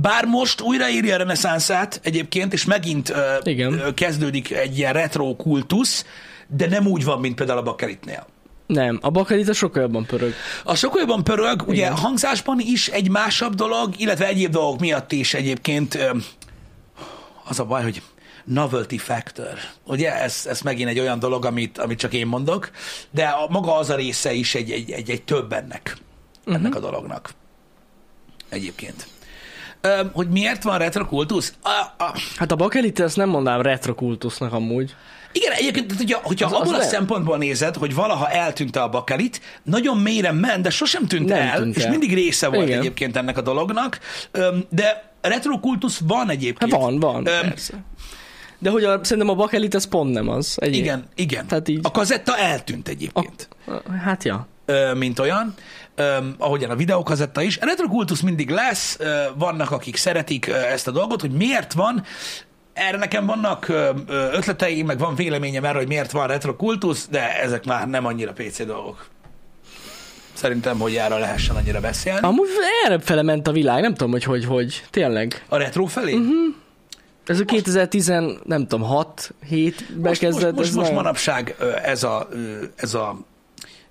[SPEAKER 1] bár most újraírja a reneszánszát egyébként, és megint ö,
[SPEAKER 2] Igen.
[SPEAKER 1] Ö, kezdődik egy ilyen retro kultusz, de nem úgy van, mint például a Bakeritnél.
[SPEAKER 2] Nem, a bakelita sokkal jobban pörög.
[SPEAKER 1] A sokkal jobban pörög, ugye hangzásban is egy másabb dolog, illetve egyéb dolgok miatt is egyébként ö, az a baj, hogy novelty factor. Ugye ez, ez megint egy olyan dolog, amit, amit csak én mondok, de a, maga az a része is egy, egy, egy, egy több ennek, uh-huh. ennek a dolognak. Egyébként. Ö, hogy miért van retrokultusz? A, a,
[SPEAKER 2] Hát a bakelita ezt nem mondanám retrokultusznak amúgy.
[SPEAKER 1] igen, egyébként, tehát ugye, hogyha
[SPEAKER 2] Az-
[SPEAKER 1] az,
[SPEAKER 2] az
[SPEAKER 1] abból a
[SPEAKER 2] lehet.
[SPEAKER 1] szempontból nézed, hogy valaha eltűnt a bakelit, nagyon mélyre ment, de sosem tűnt
[SPEAKER 2] Nem
[SPEAKER 1] el,
[SPEAKER 2] tűnt
[SPEAKER 1] és
[SPEAKER 2] el.
[SPEAKER 1] mindig része volt
[SPEAKER 2] Igen.
[SPEAKER 1] egyébként ennek a dolognak, Öm, de retrokultusz van egyébként.
[SPEAKER 2] Hát van, van,
[SPEAKER 1] Öm,
[SPEAKER 2] persze. De hogy a, szerintem a bakelit az pont nem az. Egy
[SPEAKER 1] igen, igen.
[SPEAKER 2] Tehát így-
[SPEAKER 1] A kazetta eltűnt egyébként.
[SPEAKER 2] Hát ja.
[SPEAKER 1] ö, mint olyan, ö, ahogyan a videókazetta is. Retrokultusz mindig lesz, ö, vannak, akik szeretik ö, ezt a dolgot, hogy miért van, erre nekem vannak ö, ö, ötleteim, meg van véleményem erre, hogy miért van retrokultusz, de ezek már nem annyira PC dolgok. Szerintem, hogy erre lehessen annyira beszélni.
[SPEAKER 2] Amúgy erre fele ment a világ, nem tudom, hogy hogy, hogy. Tényleg.
[SPEAKER 1] A retro felé?
[SPEAKER 2] Mhm.
[SPEAKER 1] Uh-huh.
[SPEAKER 2] Ez a 2010, nem tudom, 6, 7
[SPEAKER 1] Most, most,
[SPEAKER 2] bekezdett.
[SPEAKER 1] most, most,
[SPEAKER 2] ez
[SPEAKER 1] most
[SPEAKER 2] nagyon-
[SPEAKER 1] manapság ö, ez a, ö, ez a,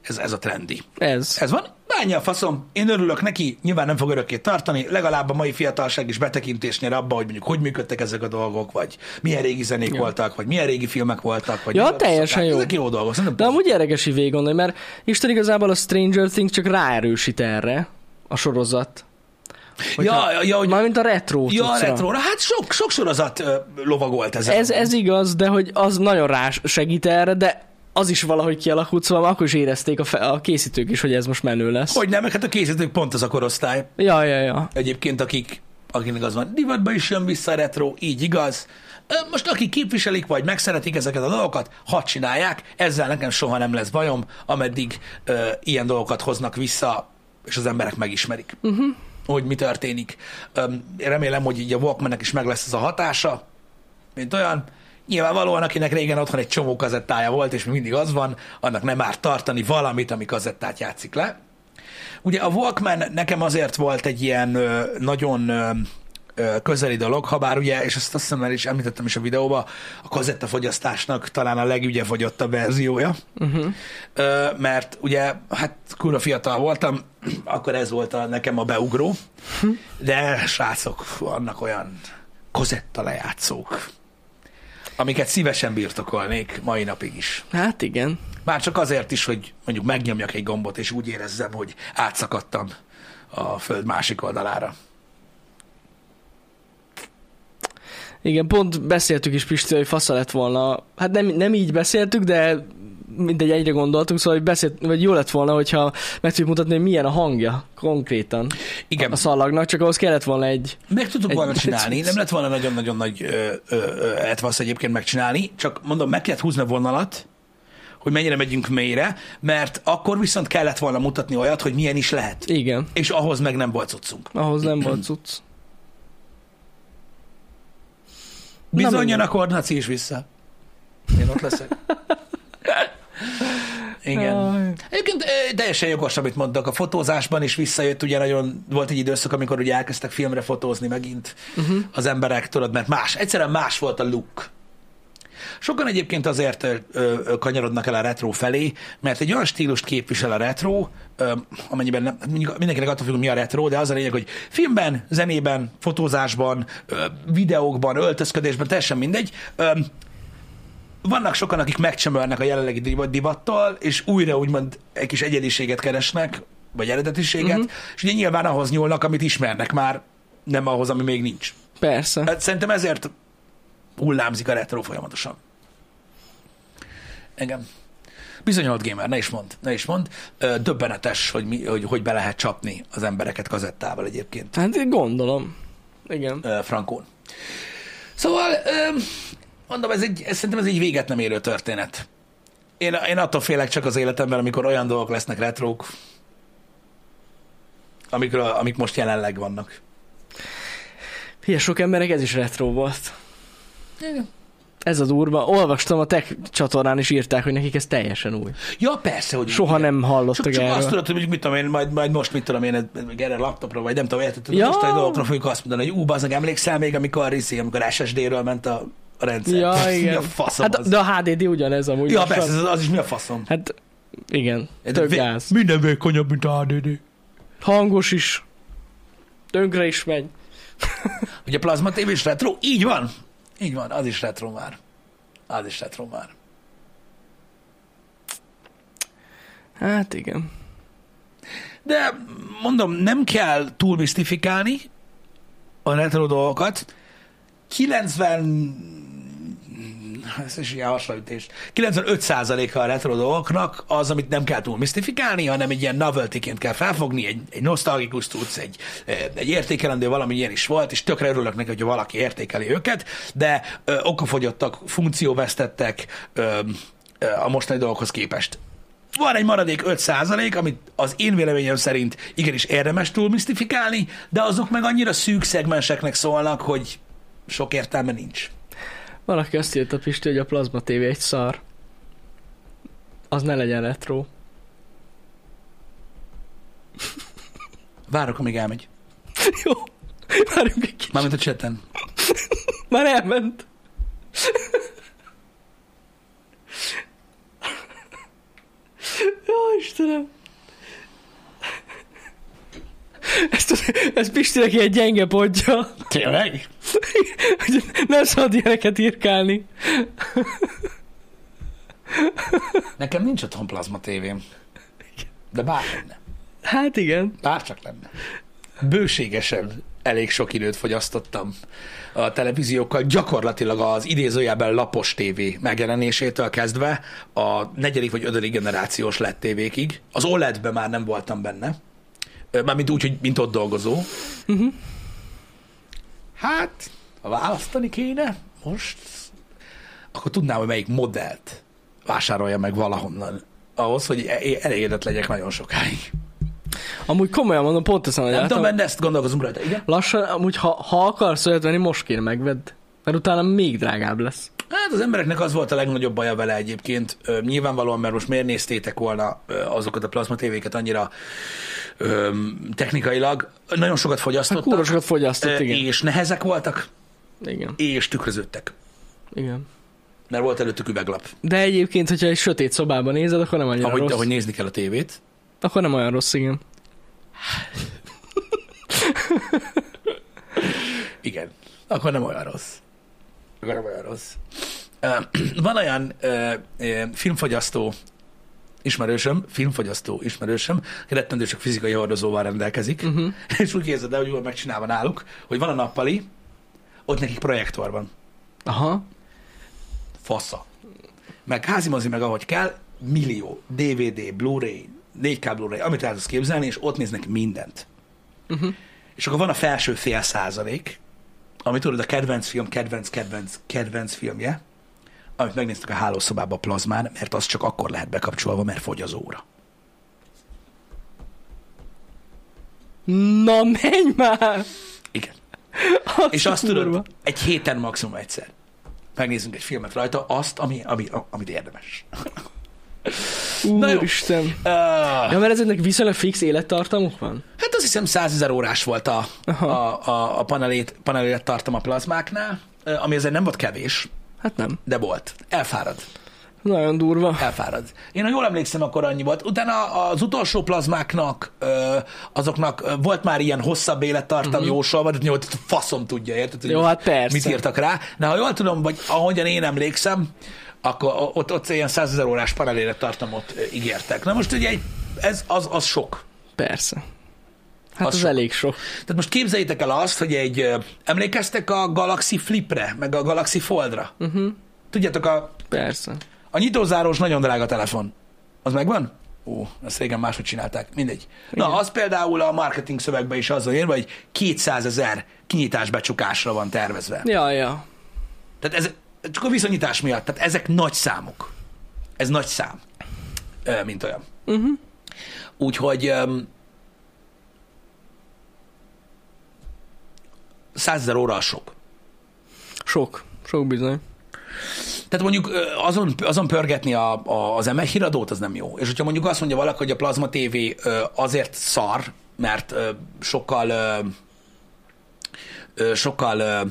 [SPEAKER 1] ez, ez a trendi.
[SPEAKER 2] Ez.
[SPEAKER 1] Ez van, bánja a faszom, én örülök neki, nyilván nem fog örökké tartani, legalább a mai fiatalság is betekintést nyer abba, hogy mondjuk hogy működtek ezek a dolgok, vagy milyen régi zenék ja. voltak, vagy milyen régi filmek voltak. Vagy
[SPEAKER 2] Ja,
[SPEAKER 1] milyen
[SPEAKER 2] teljesen
[SPEAKER 1] szakák.
[SPEAKER 2] jó.
[SPEAKER 1] Ezek jó dolgok, szerintem
[SPEAKER 2] De amúgy érdekes így végig gondolni, mert Isten igazából a Stranger Things csak ráerősít erre a sorozat.
[SPEAKER 1] ja, ja, ja, hogy,
[SPEAKER 2] Mármint a retro
[SPEAKER 1] ja,
[SPEAKER 2] cuccra.
[SPEAKER 1] retro. Hát sok, sok sorozat ö, lovagolt ezen.
[SPEAKER 2] Hát Ez, ez igaz, de hogy az nagyon rá segít erre, de az is valahogy kialakult, szóval akkor is érezték a, fe, a készítők is, hogy ez most menő lesz.
[SPEAKER 1] Hogy nem, meg hát a készítők pont az a korosztály.
[SPEAKER 2] Ja, ja, ja.
[SPEAKER 1] egyébként, akik, akinek az van, divatba is jön vissza a retro, így igaz. Ö, Most akik képviselik, vagy megszeretik ezeket a dolgokat, hadd csinálják, ezzel nekem soha nem lesz bajom, ameddig ö, ilyen dolgokat hoznak vissza, és az emberek megismerik, uh-huh. hogy mi történik. Ö, remélem, hogy így a Walkmannek is meg lesz ez a hatása, mint olyan. Nyilvánvalóan, akinek régen otthon egy csomó kazettája volt, és még mindig az van, annak nem árt tartani valamit, ami kazettát játszik le. Ugye a Walkman nekem azért volt egy ilyen ö, nagyon ö, ö, közeli dolog, ha bár ugye, és ezt azt hiszem el is említettem is a videóba, a kazettafogyasztásnak talán a legügyefogyottabb verziója, uh-huh. ö, mert ugye, hát kurva fiatal voltam, akkor ez volt a, nekem a beugró, de srácok, vannak olyan kozetta lejátszók, amiket szívesen birtokolnék mai napig is.
[SPEAKER 2] Hát igen.
[SPEAKER 1] Már csak azért is, hogy mondjuk megnyomjak egy gombot, és úgy érezzem, hogy átszakadtam a föld másik oldalára.
[SPEAKER 2] Igen, pont beszéltük is Pisti, hogy fasza lett volna. Hát nem, nem így beszéltük, de mindegy, egyre gondoltunk, szóval hogy beszélt, vagy jó lett volna, hogyha meg tudjuk mutatni, hogy milyen a hangja konkrétan
[SPEAKER 1] Igen,
[SPEAKER 2] a szalagnak, csak ahhoz kellett volna egy...
[SPEAKER 1] meg tudtuk
[SPEAKER 2] Egy-
[SPEAKER 1] volna csinálni, nem lett volna nagyon-nagyon nagy ö, ö, ö, etvasz egyébként megcsinálni, csak mondom, meg kellett húzni a vonalat, hogy mennyire megyünk mélyre, mert akkor viszont kellett volna mutatni olyat, hogy milyen is lehet.
[SPEAKER 2] Igen,
[SPEAKER 1] És ahhoz meg nem volt cuccunk.
[SPEAKER 2] ahhoz nem volt cucc. Na,
[SPEAKER 1] Bizony jön
[SPEAKER 2] mondjuk.
[SPEAKER 1] a kornaci is vissza. Én ott leszek. Igen.
[SPEAKER 2] Jaj.
[SPEAKER 1] Egyébként ö, teljesen jogos, amit mondtak. A fotózásban is visszajött, ugye nagyon volt egy időszak, amikor ugye elkezdtek filmre fotózni megint
[SPEAKER 2] Mhm.
[SPEAKER 1] uh-huh. az emberek, tudod, mert más, egyszerűen más volt a look. Sokan egyébként azért ö, ö, ö, kanyarodnak el a retro felé, mert egy olyan stílust képvisel a retro, ö, amennyiben nem, mondjuk mindenkinek attól függ, hogy mi a retro, de az a lényeg, hogy filmben, zenében, fotózásban, ö, videókban, öltözködésben, teljesen mindegy, ö, vannak sokan, akik megcsömörnek a jelenlegi divat- divattal, és újra úgymond egy kis egyediséget keresnek, vagy eredetiséget, uh-huh. és ugye nyilván ahhoz nyúlnak, amit ismernek már, nem ahhoz, ami még nincs.
[SPEAKER 2] Persze.
[SPEAKER 1] Hát szerintem ezért hullámzik a retro folyamatosan. Engem. Bizonyolt gamer, ne is mond, ne is mond. Ö, Döbbenetes, hogy, mi, hogy hogy be lehet csapni az embereket kazettával egyébként
[SPEAKER 2] Hát gondolom. Igen.
[SPEAKER 1] ö, frankón. Szóval, ö, mondom, ez egy, ez, szerintem ez egy véget nem érő történet. Én, én attól félek csak az életemben, amikor olyan dolgok lesznek retrók, amikről, amik most jelenleg vannak.
[SPEAKER 2] Hülye sok emberek ez is retro volt. Ez a durva. Olvastam, a tech csatornán is írták, hogy nekik ez teljesen új.
[SPEAKER 1] Ja, persze, hogy
[SPEAKER 2] Soha nem
[SPEAKER 1] Csak,
[SPEAKER 2] hallottak
[SPEAKER 1] csak azt
[SPEAKER 2] erről.
[SPEAKER 1] tudod, hogy mondjuk mit tudom én, majd, majd most mit tudom én, ez- meg erre a laptopra, vagy nem tudom, érted, tudod,
[SPEAKER 2] Ja.
[SPEAKER 1] most egy dolgokra fogjuk azt mondani, hogy ú, bazdmeg, emlékszel még, amikor, izé, amikor SSD-ről ment a a rendszer. <laughs>
[SPEAKER 2] Ja,
[SPEAKER 1] Mi a
[SPEAKER 2] igen.
[SPEAKER 1] faszom hát,
[SPEAKER 2] Hát,
[SPEAKER 1] az? De,
[SPEAKER 2] de a HDD ugyanez amúgy.
[SPEAKER 1] ja,
[SPEAKER 2] most
[SPEAKER 1] persze,
[SPEAKER 2] van.
[SPEAKER 1] az, az is mi a faszom.
[SPEAKER 2] Hát igen,
[SPEAKER 1] De
[SPEAKER 2] tök
[SPEAKER 1] vé-
[SPEAKER 2] gáz.
[SPEAKER 1] Minden vékonyabb, mint a HDD.
[SPEAKER 2] Hangos is. Tönkre is megy.
[SPEAKER 1] Hogy a plazma TV is retro? Így van. Így van, az is retro már. Az is retro már.
[SPEAKER 2] Hát igen.
[SPEAKER 1] De mondom, nem kell túl misztifikálni a retro dolgokat. 90 ez is ilyen hasonlítés. 95%-a a retro dolgoknak az, amit nem kell túl misztifikálni, hanem egy ilyen novelty kell felfogni, egy, egy nosztalgikus tudsz, egy, e, egy értékelendő valami ilyen is volt, és tökre örülök neki, hogyha valaki értékeli őket, de ö, okafogyottak, funkcióvesztettek ö, ö, a mostani dolgokhoz képest. Van egy maradék 5 amit az én véleményem szerint igenis érdemes túl misztifikálni, de azok meg annyira szűk szegmenseknek szólnak, hogy sok értelme nincs.
[SPEAKER 2] Valaki azt írta, Pisti, hogy a plazma TV egy szar. Az ne legyen retro. <laughs>
[SPEAKER 1] Várok, amíg elmegy.
[SPEAKER 2] Jó. Várjunk egy kicsit.
[SPEAKER 1] Mármint a cseten.
[SPEAKER 2] Már elment. Jó, Istenem. Ezt, ez Pistinek ilyen gyenge pontja,
[SPEAKER 1] Tényleg?
[SPEAKER 2] hogy nem szabad ilyeneket írkálni.
[SPEAKER 1] Nekem nincs otthon plazma tévém. De bár lenne.
[SPEAKER 2] Hát igen.
[SPEAKER 1] Bár csak lenne. Bőségesen elég sok időt fogyasztottam a televíziókkal, gyakorlatilag az idézőjelben lapos tévé megjelenésétől kezdve a negyedik vagy ötödik generációs LED tévékig. Az OLED-be már nem voltam benne, Ö, mármint úgy, hogy mint ott dolgozó. Hát, ha választani kéne most, akkor tudnám, hogy melyik modellt vásárolja meg valahonnan ahhoz, hogy e- elégedett legyek nagyon sokáig.
[SPEAKER 2] Amúgy komolyan mondom, pont ezen
[SPEAKER 1] Nem tudom,
[SPEAKER 2] a
[SPEAKER 1] benne ezt gondolkozom rajta. Igen?
[SPEAKER 2] Lassan, amúgy ha, ha akarsz olyat venni, most kéne megvedd. Mert utána még drágább lesz.
[SPEAKER 1] Hát az embereknek az volt a legnagyobb baja vele egyébként. Ö, nyilvánvalóan, mert most miért néztétek volna ö, azokat a plazma tévéket annyira ö, technikailag. Nagyon Hát sokat fogyasztottak.
[SPEAKER 2] Kúrosokat
[SPEAKER 1] ö,
[SPEAKER 2] fogyasztott, igen.
[SPEAKER 1] és nehezek voltak,
[SPEAKER 2] Igen,
[SPEAKER 1] és tükröződtek.
[SPEAKER 2] igen.
[SPEAKER 1] Mert volt előttük üveglap.
[SPEAKER 2] De egyébként, hogyha egy sötét szobában nézed, akkor nem annyira
[SPEAKER 1] Ahogy,
[SPEAKER 2] rossz.
[SPEAKER 1] ahogy nézni kell a tévét.
[SPEAKER 2] Hát Akkor nem olyan rossz, igen.
[SPEAKER 1] Igen. Akkor nem olyan rossz. Akkor nem olyan rossz. Ö, <clears throat> Van olyan ö, ö, filmfogyasztó ismerősöm, filmfogyasztó ismerősöm, aki rettentő sok fizikai hordozóval rendelkezik, uh-huh. <laughs> és úgy képzeld el, hogy jól megcsinálva náluk, hogy van a nappali, ott nekik projektor van.
[SPEAKER 2] Aha.
[SPEAKER 1] Fasza. Meg házimozi meg ahogy kell, millió DVD, Blu-ray, 4K Blu-ray, amit el tudsz képzelni, és ott néznek mindent.
[SPEAKER 2] Uh-huh.
[SPEAKER 1] És akkor van a felső fél százalék, amit tudod, a kedvenc film, kedvenc, kedvenc, kedvenc filmje, amit megnéztük a hálószobába a plazmán, mert az csak akkor lehet bekapcsolva, mert fogy az óra.
[SPEAKER 2] Na menj már!
[SPEAKER 1] Igen.
[SPEAKER 2] Az
[SPEAKER 1] És azt
[SPEAKER 2] kurva.
[SPEAKER 1] tudod, egy héten maximum egyszer megnézzünk egy filmet rajta, azt, ami, ami, amit érdemes. Na jó.
[SPEAKER 2] Úristen.
[SPEAKER 1] Uh,
[SPEAKER 2] Ja, mert ezeknek viszonylag fix élettartamuk van?
[SPEAKER 1] hát azt hiszem 100 ezer órás volt a, a,
[SPEAKER 2] Aha.
[SPEAKER 1] a, a panelét, panelét tartom a plazmáknál, ö, ami azért nem volt kevés,
[SPEAKER 2] Hát nem.
[SPEAKER 1] de volt. Elfárad.
[SPEAKER 2] Nagyon durva.
[SPEAKER 1] elfárad. Én ha jól emlékszem, akkor annyi volt. Utána az utolsó plazmáknak, ö, azoknak ö, volt már ilyen hosszabb élettartam uh-huh. jósolva, de nyolc faszom tudja, érted? hogy
[SPEAKER 2] Mhm. Jó, hát persze.
[SPEAKER 1] Mit írtak rá? De ha jól tudom, vagy ahogyan én emlékszem, akkor o- ott, ott ilyen 100 ezer órás paralére tartamot ö, ígértek. Na most ugye egy, ez az, az sok.
[SPEAKER 2] Persze.
[SPEAKER 1] Az
[SPEAKER 2] Hát az, az
[SPEAKER 1] sok.
[SPEAKER 2] elég sok.
[SPEAKER 1] Tehát most képzeljétek el azt, hogy egy... ö, Emlékeztek a Galaxy Flipre, meg a Galaxy Foldra? Uh-huh. Tudjátok, a
[SPEAKER 2] Persze.
[SPEAKER 1] A nyitózárós nagyon drága telefon. Az megvan? Ó, azt régen máshogy csinálták. Mindegy. Na, az például a marketing szövegben is azzal érve, hogy 200 ezer kinyitás becsukásra van tervezve.
[SPEAKER 2] Ja, ja.
[SPEAKER 1] Tehát ez csak a viszonyítás miatt. Tehát ezek nagy számok. Ez nagy szám, Ö, mint olyan. Uh-huh. Úgyhogy öm, 100 ezer óra az sok.
[SPEAKER 2] Sok. Sok bizony.
[SPEAKER 1] Tehát mondjuk ö, azon, azon pörgetni a, a, az ME híradót, az nem jó. És hogyha mondjuk azt mondja valaki, hogy a plazma TV ö, azért szar, mert ö, sokkal ö, ö, sokkal ö,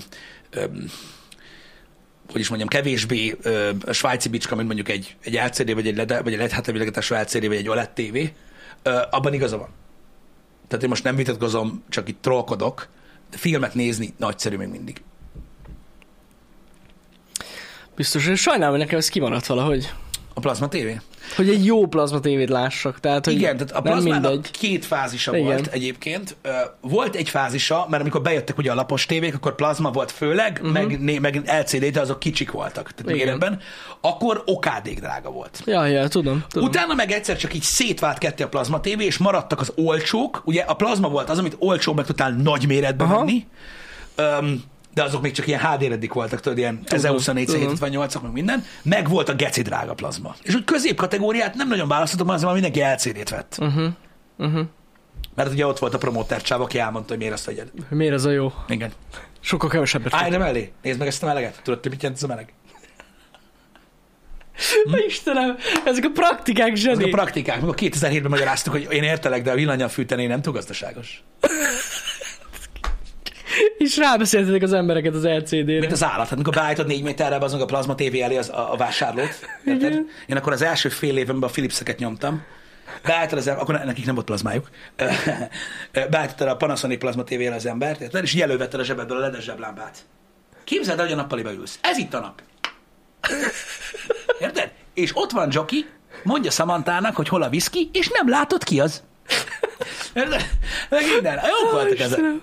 [SPEAKER 1] ö, hogy is mondjam, kevésbé ö, svájci bicska, mint mondjuk egy, egy LCD, vagy egy LED, E, vagy egy LED háttérvilágítású LCD, vagy egy E OLED TV, ö, abban igaza van. Tehát én most nem vitatkozom, csak itt trollkodok, de filmet nézni nagyszerű még mindig.
[SPEAKER 2] Biztos, hogy sajnálom, hogy nekem ez kimaradt valahogy.
[SPEAKER 1] A plazma tévé?
[SPEAKER 2] Hogy egy jó plazma tévét lássak. Tehát, hogy
[SPEAKER 1] Igen, tehát a
[SPEAKER 2] nem
[SPEAKER 1] plazmának
[SPEAKER 2] mindegy.
[SPEAKER 1] két fázisa Igen.
[SPEAKER 2] Igen.
[SPEAKER 1] volt egyébként. Ö, Volt egy fázisa, mert amikor bejöttek ugye a lapos tévék, akkor plazma volt főleg, uh-huh. meg, né- meg LCD, de azok kicsik voltak, tehát
[SPEAKER 2] Mhm. Igen.
[SPEAKER 1] méretben. Akkor okádék drága volt.
[SPEAKER 2] Ja, ja, tudom. tudom.
[SPEAKER 1] Utána meg egyszer csak így szétvált ketté a plazma tévé, és maradtak az olcsók. Ugye a plazma volt az, amit olcsó meg tudtál nagy méretben
[SPEAKER 2] Aha.
[SPEAKER 1] venni. Öm, de azok még csak ilyen HD-redik voltak, tudod, ilyen 1024
[SPEAKER 2] tudom.
[SPEAKER 1] 758 ak meg minden. Meg volt a geci drága
[SPEAKER 2] Mhm,
[SPEAKER 1] plazma. És úgy középkategóriát nem nagyon választottam, mert azért már mindenki LCD-t vett. Uh-huh. Uh-huh. Mert ugye ott volt a promóter csáv, aki elmondta, hogy miért azt tegyed.
[SPEAKER 2] Miért ez a jó?
[SPEAKER 1] Igen.
[SPEAKER 2] Sokkal kevesebbet.
[SPEAKER 1] Állj nem elé, nézd meg ezt a meleget. Tudod, te mit jelent ez a meleg?
[SPEAKER 2] Hm? Istenem, ezek a praktikák
[SPEAKER 1] Ezek a
[SPEAKER 2] zseni.
[SPEAKER 1] praktikák, mikor 2007-ben magyaráztuk, hogy én értelek, de a villanyan fűteni nem túl gazdaságos.
[SPEAKER 2] És rábeszéltetek az embereket az LCD-re.
[SPEAKER 1] Mint az állat. Hát mikor beállítod négy méterre azon a plazma tévé elé az, a, a vásárlót. Érted? Én akkor az első fél évemben a Philipseket nyomtam. Beállítod az ember, akkor ne- nekik nem volt plazmájuk. Beállítottad a Panasonic plazma tévé elé az embert, érted? És így elővetted a zsebedből a ledes zseblámpát. Képzeld el, hogy a nappaliba ülsz. Ez itt a nap. Érted? És ott van Joki, mondja Samantának, hogy hol a viszki, és nem látod ki az. Érted? Meg minden. Jók voltak ezek.
[SPEAKER 2] Istenem.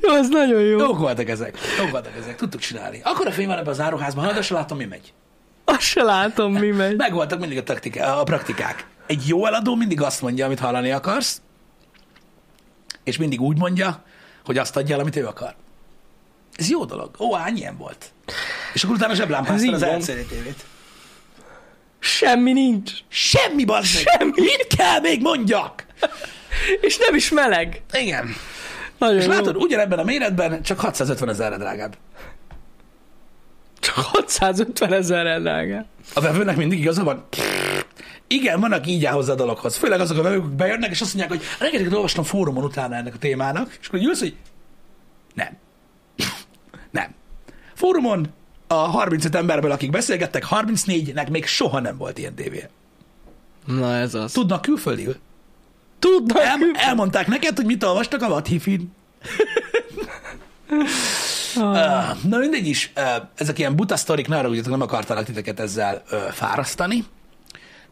[SPEAKER 2] Jó, ez nagyon jó.
[SPEAKER 1] Jók voltak ezek. Jók voltak ezek. Tudtuk csinálni. Akkor a fény van ebben az áruházban, ha de se látom, mi megy.
[SPEAKER 2] Azt se látom, mi megy.
[SPEAKER 1] Megvoltak mindig a, taktika, a praktikák. Egy jó eladó mindig azt mondja, amit hallani akarsz, és mindig úgy mondja, hogy azt adja el, amit ő akar. Ez jó dolog. Ó, hány ilyen volt. És akkor utána zseblámpáztad az
[SPEAKER 2] Ez így van.
[SPEAKER 1] LCD tévét.
[SPEAKER 2] Semmi nincs.
[SPEAKER 1] Semmi bazd meg.
[SPEAKER 2] Semmi.
[SPEAKER 1] Mit kell még mondjak?
[SPEAKER 2] És nem is meleg.
[SPEAKER 1] Igen.
[SPEAKER 2] Nagyon
[SPEAKER 1] És
[SPEAKER 2] jó.
[SPEAKER 1] látod, ugyanebben a méretben csak 650 ezerre drágább.
[SPEAKER 2] Csak 650 ezer drága.
[SPEAKER 1] A vevőnek mindig igaza van? Igen, van, aki így áll hozzá a dologhoz. Főleg azok a vevők akik bejönnek, és azt mondják, hogy rengeteget olvastam fórumon utána ennek a témának, és akkor így ülsz, hogy nem. <sniffs> nem. Fórumon a 35 emberből, akik beszélgettek, 34-nek még soha nem volt ilyen tévé.
[SPEAKER 2] Na ez az. Tud,
[SPEAKER 1] Tudnak külföldiül?
[SPEAKER 2] tudnak,
[SPEAKER 1] El, elmondták neked, hogy mit olvastak a Vathifin. Ah, Na mindegy is, eh, ezek ilyen buta sztorik, ne haragudjatok, nem akartalak titeket ezzel ö, fárasztani.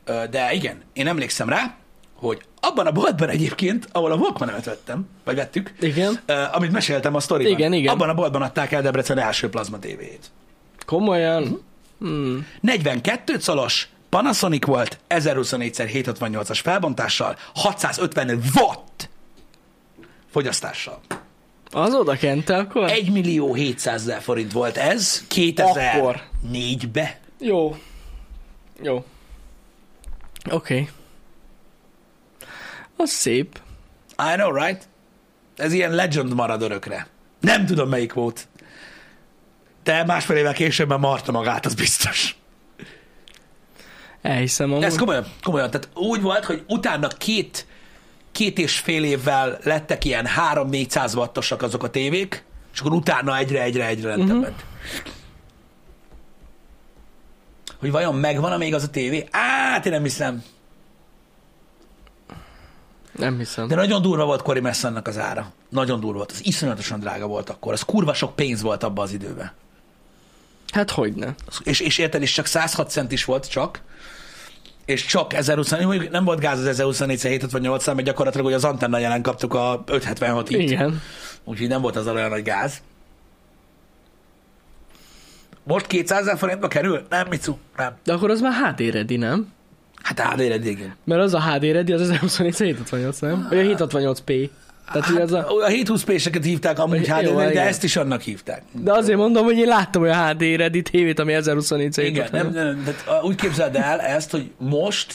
[SPEAKER 1] Ö, De igen, én emlékszem rá, hogy abban a boltban egyébként, ahol a walkman vettem, vagy vettük,
[SPEAKER 2] Igen.
[SPEAKER 1] ö, amit meséltem a sztoriban,
[SPEAKER 2] Igen, igen.
[SPEAKER 1] abban a boltban adták el Debrecen első plazma tévéjét.
[SPEAKER 2] Komolyan. Hmm.
[SPEAKER 1] 42 colos, Panasonic volt, 1024x768-as felbontással, 650 watt fogyasztással.
[SPEAKER 2] Az oda kente akkor?
[SPEAKER 1] 1 millió 700 ezer forint volt ez 2004-be.
[SPEAKER 2] Jó. Jó. Oké. Okay. Az szép.
[SPEAKER 1] I know, right? Ez ilyen legend marad örökre. Nem tudom, melyik volt. De másfél évvel később már marta magát, az biztos.
[SPEAKER 2] Elhiszem amúgy.
[SPEAKER 1] Ez komolyan, komolyan. Tehát úgy volt, hogy utána két, két és fél évvel lettek ilyen 3-400 wattosak azok a tévék, és akkor utána egyre-egyre-egyre lentebb uh-huh. Hogy vajon megvan-e még az a tévé? Á, én nem hiszem.
[SPEAKER 2] Nem hiszem.
[SPEAKER 1] De nagyon durva volt Cory Messannak az ára. Nagyon durva volt. Az iszonyatosan drága volt akkor. Az kurva sok pénz volt abban az időben.
[SPEAKER 2] Hát hogyne.
[SPEAKER 1] Az- És, és érted, és csak 106 cent is volt csak. És csak 1024, mondjuk nem volt gáz az 1024 768 szám, mert gyakorlatilag hogy az antenna jelen kaptuk a 576 itt.
[SPEAKER 2] Igen.
[SPEAKER 1] Úgyhogy nem volt az olyan nagy gáz. Most 200 ezer forintba kerül? Nem, Micu, nem.
[SPEAKER 2] De akkor az már HD Ready, nem?
[SPEAKER 1] Hát hát éred, igen.
[SPEAKER 2] Mert az a HD Ready, az az 768, nem? Vagy a 768p. Tehát hát, az a...
[SPEAKER 1] A 720p-seket hívták amúgy
[SPEAKER 2] Jó,
[SPEAKER 1] hát, de
[SPEAKER 2] igen.
[SPEAKER 1] ezt is annak hívták.
[SPEAKER 2] De azért mondom, hogy én láttam olyan HD Ready tévét, ami 1024
[SPEAKER 1] Igen, nem, nem, tehát a- úgy képzeld el ezt, hogy most,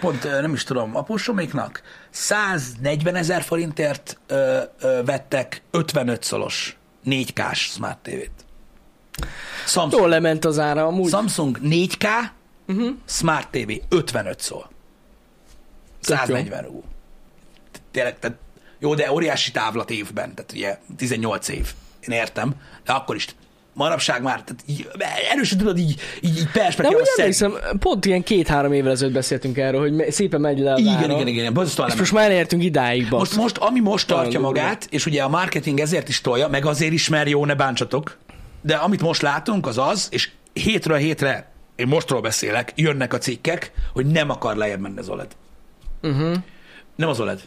[SPEAKER 1] pont ö, nem is tudom, apósomiknak 140 ezer forintért ö, ö, vettek 55 szolos 4K-s Smart TV-t. Samsung,
[SPEAKER 2] Jól lement az ára amúgy.
[SPEAKER 1] Samsung 4K
[SPEAKER 2] Mhm.
[SPEAKER 1] uh-huh. Smart TV 55 szól.
[SPEAKER 2] Tök jó.
[SPEAKER 1] 140 rú. Tényleg, tehát, jó, de óriási távlat évben, tehát ugye 18 év, én értem, de akkor is manapság már, tehát így, erősen tudod így, így, így
[SPEAKER 2] De
[SPEAKER 1] perspektíva
[SPEAKER 2] úgy emlékszem, pont ilyen két-három évvel ezelőtt beszéltünk erről, hogy me- szépen megy le az
[SPEAKER 1] Igen,
[SPEAKER 2] ára.
[SPEAKER 1] igen, igen, igen, borzasztóan
[SPEAKER 2] És
[SPEAKER 1] nem.
[SPEAKER 2] most már elértünk idáig, bassz.
[SPEAKER 1] Most, most, ami most tartja
[SPEAKER 2] Talán durva.
[SPEAKER 1] magát, és ugye a marketing ezért is tolja, meg azért is, mert jó, ne bántsatok, de amit most látunk, az az, és hétről hétre, én mostról beszélek, jönnek a cikkek, hogy nem akar lejjebb menni az OLED.
[SPEAKER 2] Uh-huh.
[SPEAKER 1] Nem az OLED. Mhm.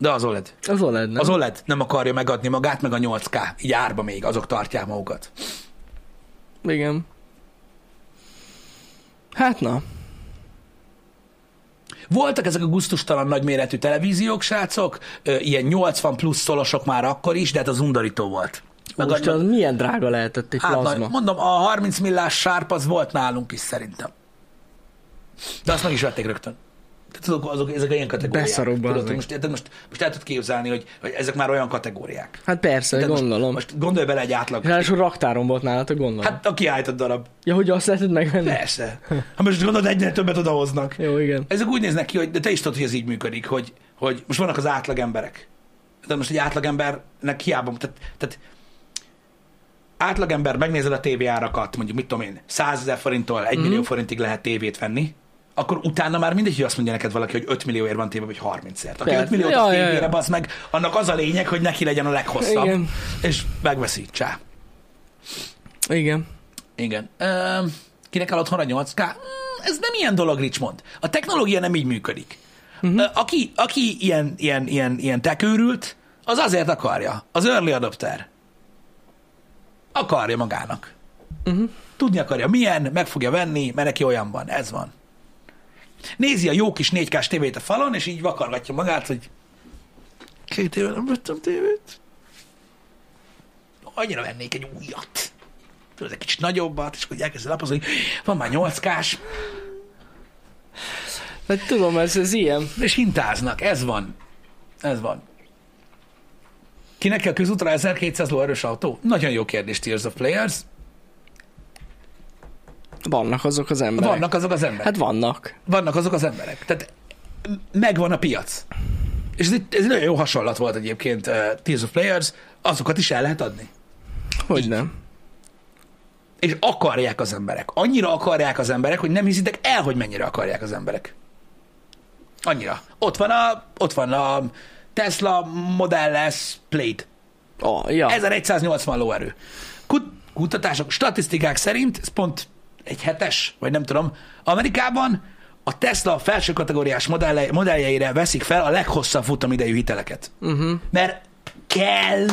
[SPEAKER 1] De az E OLED.
[SPEAKER 2] Az OLED, nem?
[SPEAKER 1] Az OLED nem akarja megadni magát, meg a 8K. Így árba még, azok tartják magukat.
[SPEAKER 2] Igen. Hát na.
[SPEAKER 1] Voltak ezek a guztustalan nagyméretű televíziók, srácok, ö, ilyen 80 plusz szolosok már akkor is, de hát az undorító volt. Meg
[SPEAKER 2] Most
[SPEAKER 1] a-
[SPEAKER 2] az milyen drága lehetett egy
[SPEAKER 1] Hát,
[SPEAKER 2] plazma.
[SPEAKER 1] na, mondom, a 30 millás sárp az volt nálunk is szerintem. De azt meg is vették rögtön. de tudok, azok, ezek ilyen kategóriák.
[SPEAKER 2] Beszarok,
[SPEAKER 1] Tudod,
[SPEAKER 2] bazdmeg.
[SPEAKER 1] most, érted, most, most el tudod képzelni, hogy, hogy ezek már olyan kategóriák.
[SPEAKER 2] Hát persze,
[SPEAKER 1] Tehát
[SPEAKER 2] gondolom. Hát-
[SPEAKER 1] Most, most gondolj bele egy átlag.
[SPEAKER 2] Ráadásul raktáron volt nálatok, gondolom. Hát,
[SPEAKER 1] Hát a kiállított darab.
[SPEAKER 2] ja, hogy azt lehetett megvenni?
[SPEAKER 1] Persze. Ha most gondolod, egyre többet odahoznak.
[SPEAKER 2] Jó, igen.
[SPEAKER 1] Ezek úgy néznek ki, hogy de te is tudod, hogy ez így működik, hogy, hogy most vannak az átlag emberek. De most egy átlagembernek hiába, tehát, tehát átlagember megnézed a tévéárakat, mondjuk mit tudom én, 100 ezer forinttól 1
[SPEAKER 2] Mhm.
[SPEAKER 1] millió forintig lehet tévét venni, akkor utána már mindegy, hogy azt mondja neked valaki, hogy 5 millióért van téve, vagy 30-ért. Aki
[SPEAKER 2] Persze.
[SPEAKER 1] 5 milliót a
[SPEAKER 2] Ja, ja, ja.
[SPEAKER 1] tévére basz meg, annak az a lényeg, hogy neki legyen a leghosszabb.
[SPEAKER 2] Igen.
[SPEAKER 1] És megveszi. Csá.
[SPEAKER 2] Igen.
[SPEAKER 1] Igen. Ö, kinek áll otthon a 8K? Mm, Ez nem ilyen dolog, Richmond. A technológia nem így működik. Uh-huh. Aki, aki ilyen, ilyen, ilyen, ilyen tekőrült, az azért akarja. Az early adopter. Akarja magának. Uh-huh. Tudni akarja milyen, meg fogja venni, mert neki olyan van. Ez van. Nézi a jó kis 4K-s tévét a falon, és így vakargatja magát, hogy két éve nem vettem tévét. Annyira vennék egy újat tudod, egy kicsit nagyobbat, és akkor elkezded lapozni, hogy van már 8 kás,
[SPEAKER 2] Hát tudom, ez, ez ilyen.
[SPEAKER 1] és hintáznak, ez van. Ez van. Kinek kell közútra 1200 lóerős autó? Nagyon jó kérdés, Tears of Players.
[SPEAKER 2] Vannak azok az emberek.
[SPEAKER 1] Vannak azok az emberek.
[SPEAKER 2] Hát vannak.
[SPEAKER 1] Vannak azok az emberek. Tehát m- megvan a piac. És ez egy, ez egy nagyon jó hasonlat volt egyébként uh, Tears of Players, azokat is el lehet adni.
[SPEAKER 2] Hogy nem?
[SPEAKER 1] És akarják az emberek. Annyira akarják az emberek, hogy nem hiszitek el, hogy mennyire akarják az emberek. Annyira. Ott van a, ott van a Tesla Model S Plaid.
[SPEAKER 2] Ah, ja. Ez...
[SPEAKER 1] 1180 lóerő. Kut- kutatások, statisztikák szerint, ez pont egy hetes, vagy nem tudom, Amerikában a Tesla felső kategóriás modelle- modelljeire veszik fel a leghosszabb futamidejű hiteleket. Uh-huh. Mert kell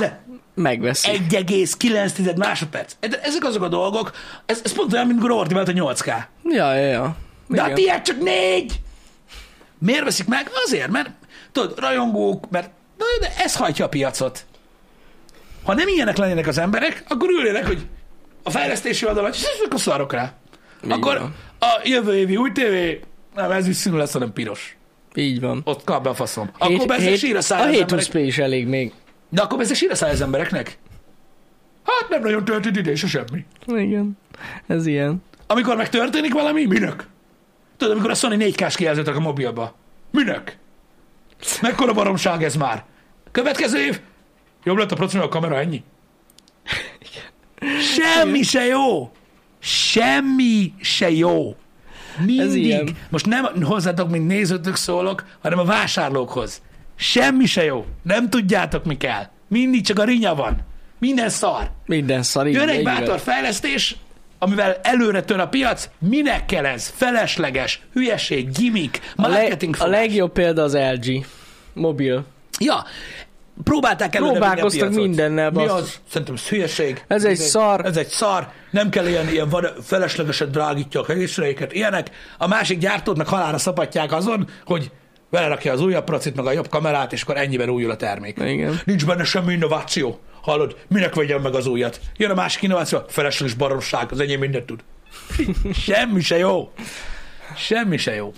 [SPEAKER 2] Megveszi. Egy...
[SPEAKER 1] 1,9 másodperc. E- Ezek azok a dolgok, ez, ez pont olyan, mint amikor Ordi ment a 8K.
[SPEAKER 2] Ja, ja, ja.
[SPEAKER 1] De a
[SPEAKER 2] Igen.
[SPEAKER 1] tiéd csak négy! Miért veszik meg? Azért, mert tudod, rajongók, mert na, jó, de ez hajtja a piacot. Ha nem ilyenek lennének az emberek, akkor ülnének, hogy a fejlesztési oldalon, és akkor szarok rá. Akkor
[SPEAKER 2] van.
[SPEAKER 1] a jövő évi új tévé, nem, ez is színű lesz, hanem piros.
[SPEAKER 2] Így van.
[SPEAKER 1] Ott kap be a faszom. Akkor bezeg sír a száll
[SPEAKER 2] A
[SPEAKER 1] az
[SPEAKER 2] 720p
[SPEAKER 1] emberek.
[SPEAKER 2] is elég még.
[SPEAKER 1] De akkor bezeg sír a száll az embereknek. Hát nem nagyon töltött ide, se semmi.
[SPEAKER 2] Igen. Ez ilyen.
[SPEAKER 1] Amikor meg történik valami, minek? Tudod, amikor a Sony 4K-s kijelzőt rak a mobilba. Minek? Mekkora baromság ez már? Következő év? Jobb lett a procedúra a kamera, ennyi? Semmi se jó! Semmi se jó! Mindig.
[SPEAKER 2] ilyen.
[SPEAKER 1] Most nem hozzátok, mint nézőtök szólok, hanem a vásárlókhoz. Semmi se jó. Nem tudjátok, mi kell. Mindig csak a rinya van. Minden szar.
[SPEAKER 2] Minden szar. Szóval így
[SPEAKER 1] Jön
[SPEAKER 2] van,
[SPEAKER 1] egy
[SPEAKER 2] így van.
[SPEAKER 1] bátor fejlesztés, amivel előre tör a piac, minek kell ez? Felesleges, hülyeség, gimmick,
[SPEAKER 2] A, le-
[SPEAKER 1] marketing.
[SPEAKER 2] a
[SPEAKER 1] fog-
[SPEAKER 2] legjobb példa az LG. Mobil.
[SPEAKER 1] Ja, próbálták előre vinni a
[SPEAKER 2] Próbálkoztak
[SPEAKER 1] piacot.
[SPEAKER 2] mindennel,
[SPEAKER 1] Mi
[SPEAKER 2] basszus.
[SPEAKER 1] az? Szerintem ez hülyeség.
[SPEAKER 2] Ez egy szar.
[SPEAKER 1] Ez egy szar. Nem kell ilyen, ilyen van, feleslegesen drágítja a készüléket, ilyenek. A másik gyártót meg halára szapatják azon, hogy belerakja az újabb procit, meg a jobb kamerát, és akkor ennyiben újul a termék.
[SPEAKER 2] Igen.
[SPEAKER 1] Nincs benne semmi innováció. Hallod, minek vegyem meg az újat? Jön a másik innováció, felesleges baromság, az enyém mindent tud. semmi se jó. Semmi se jó.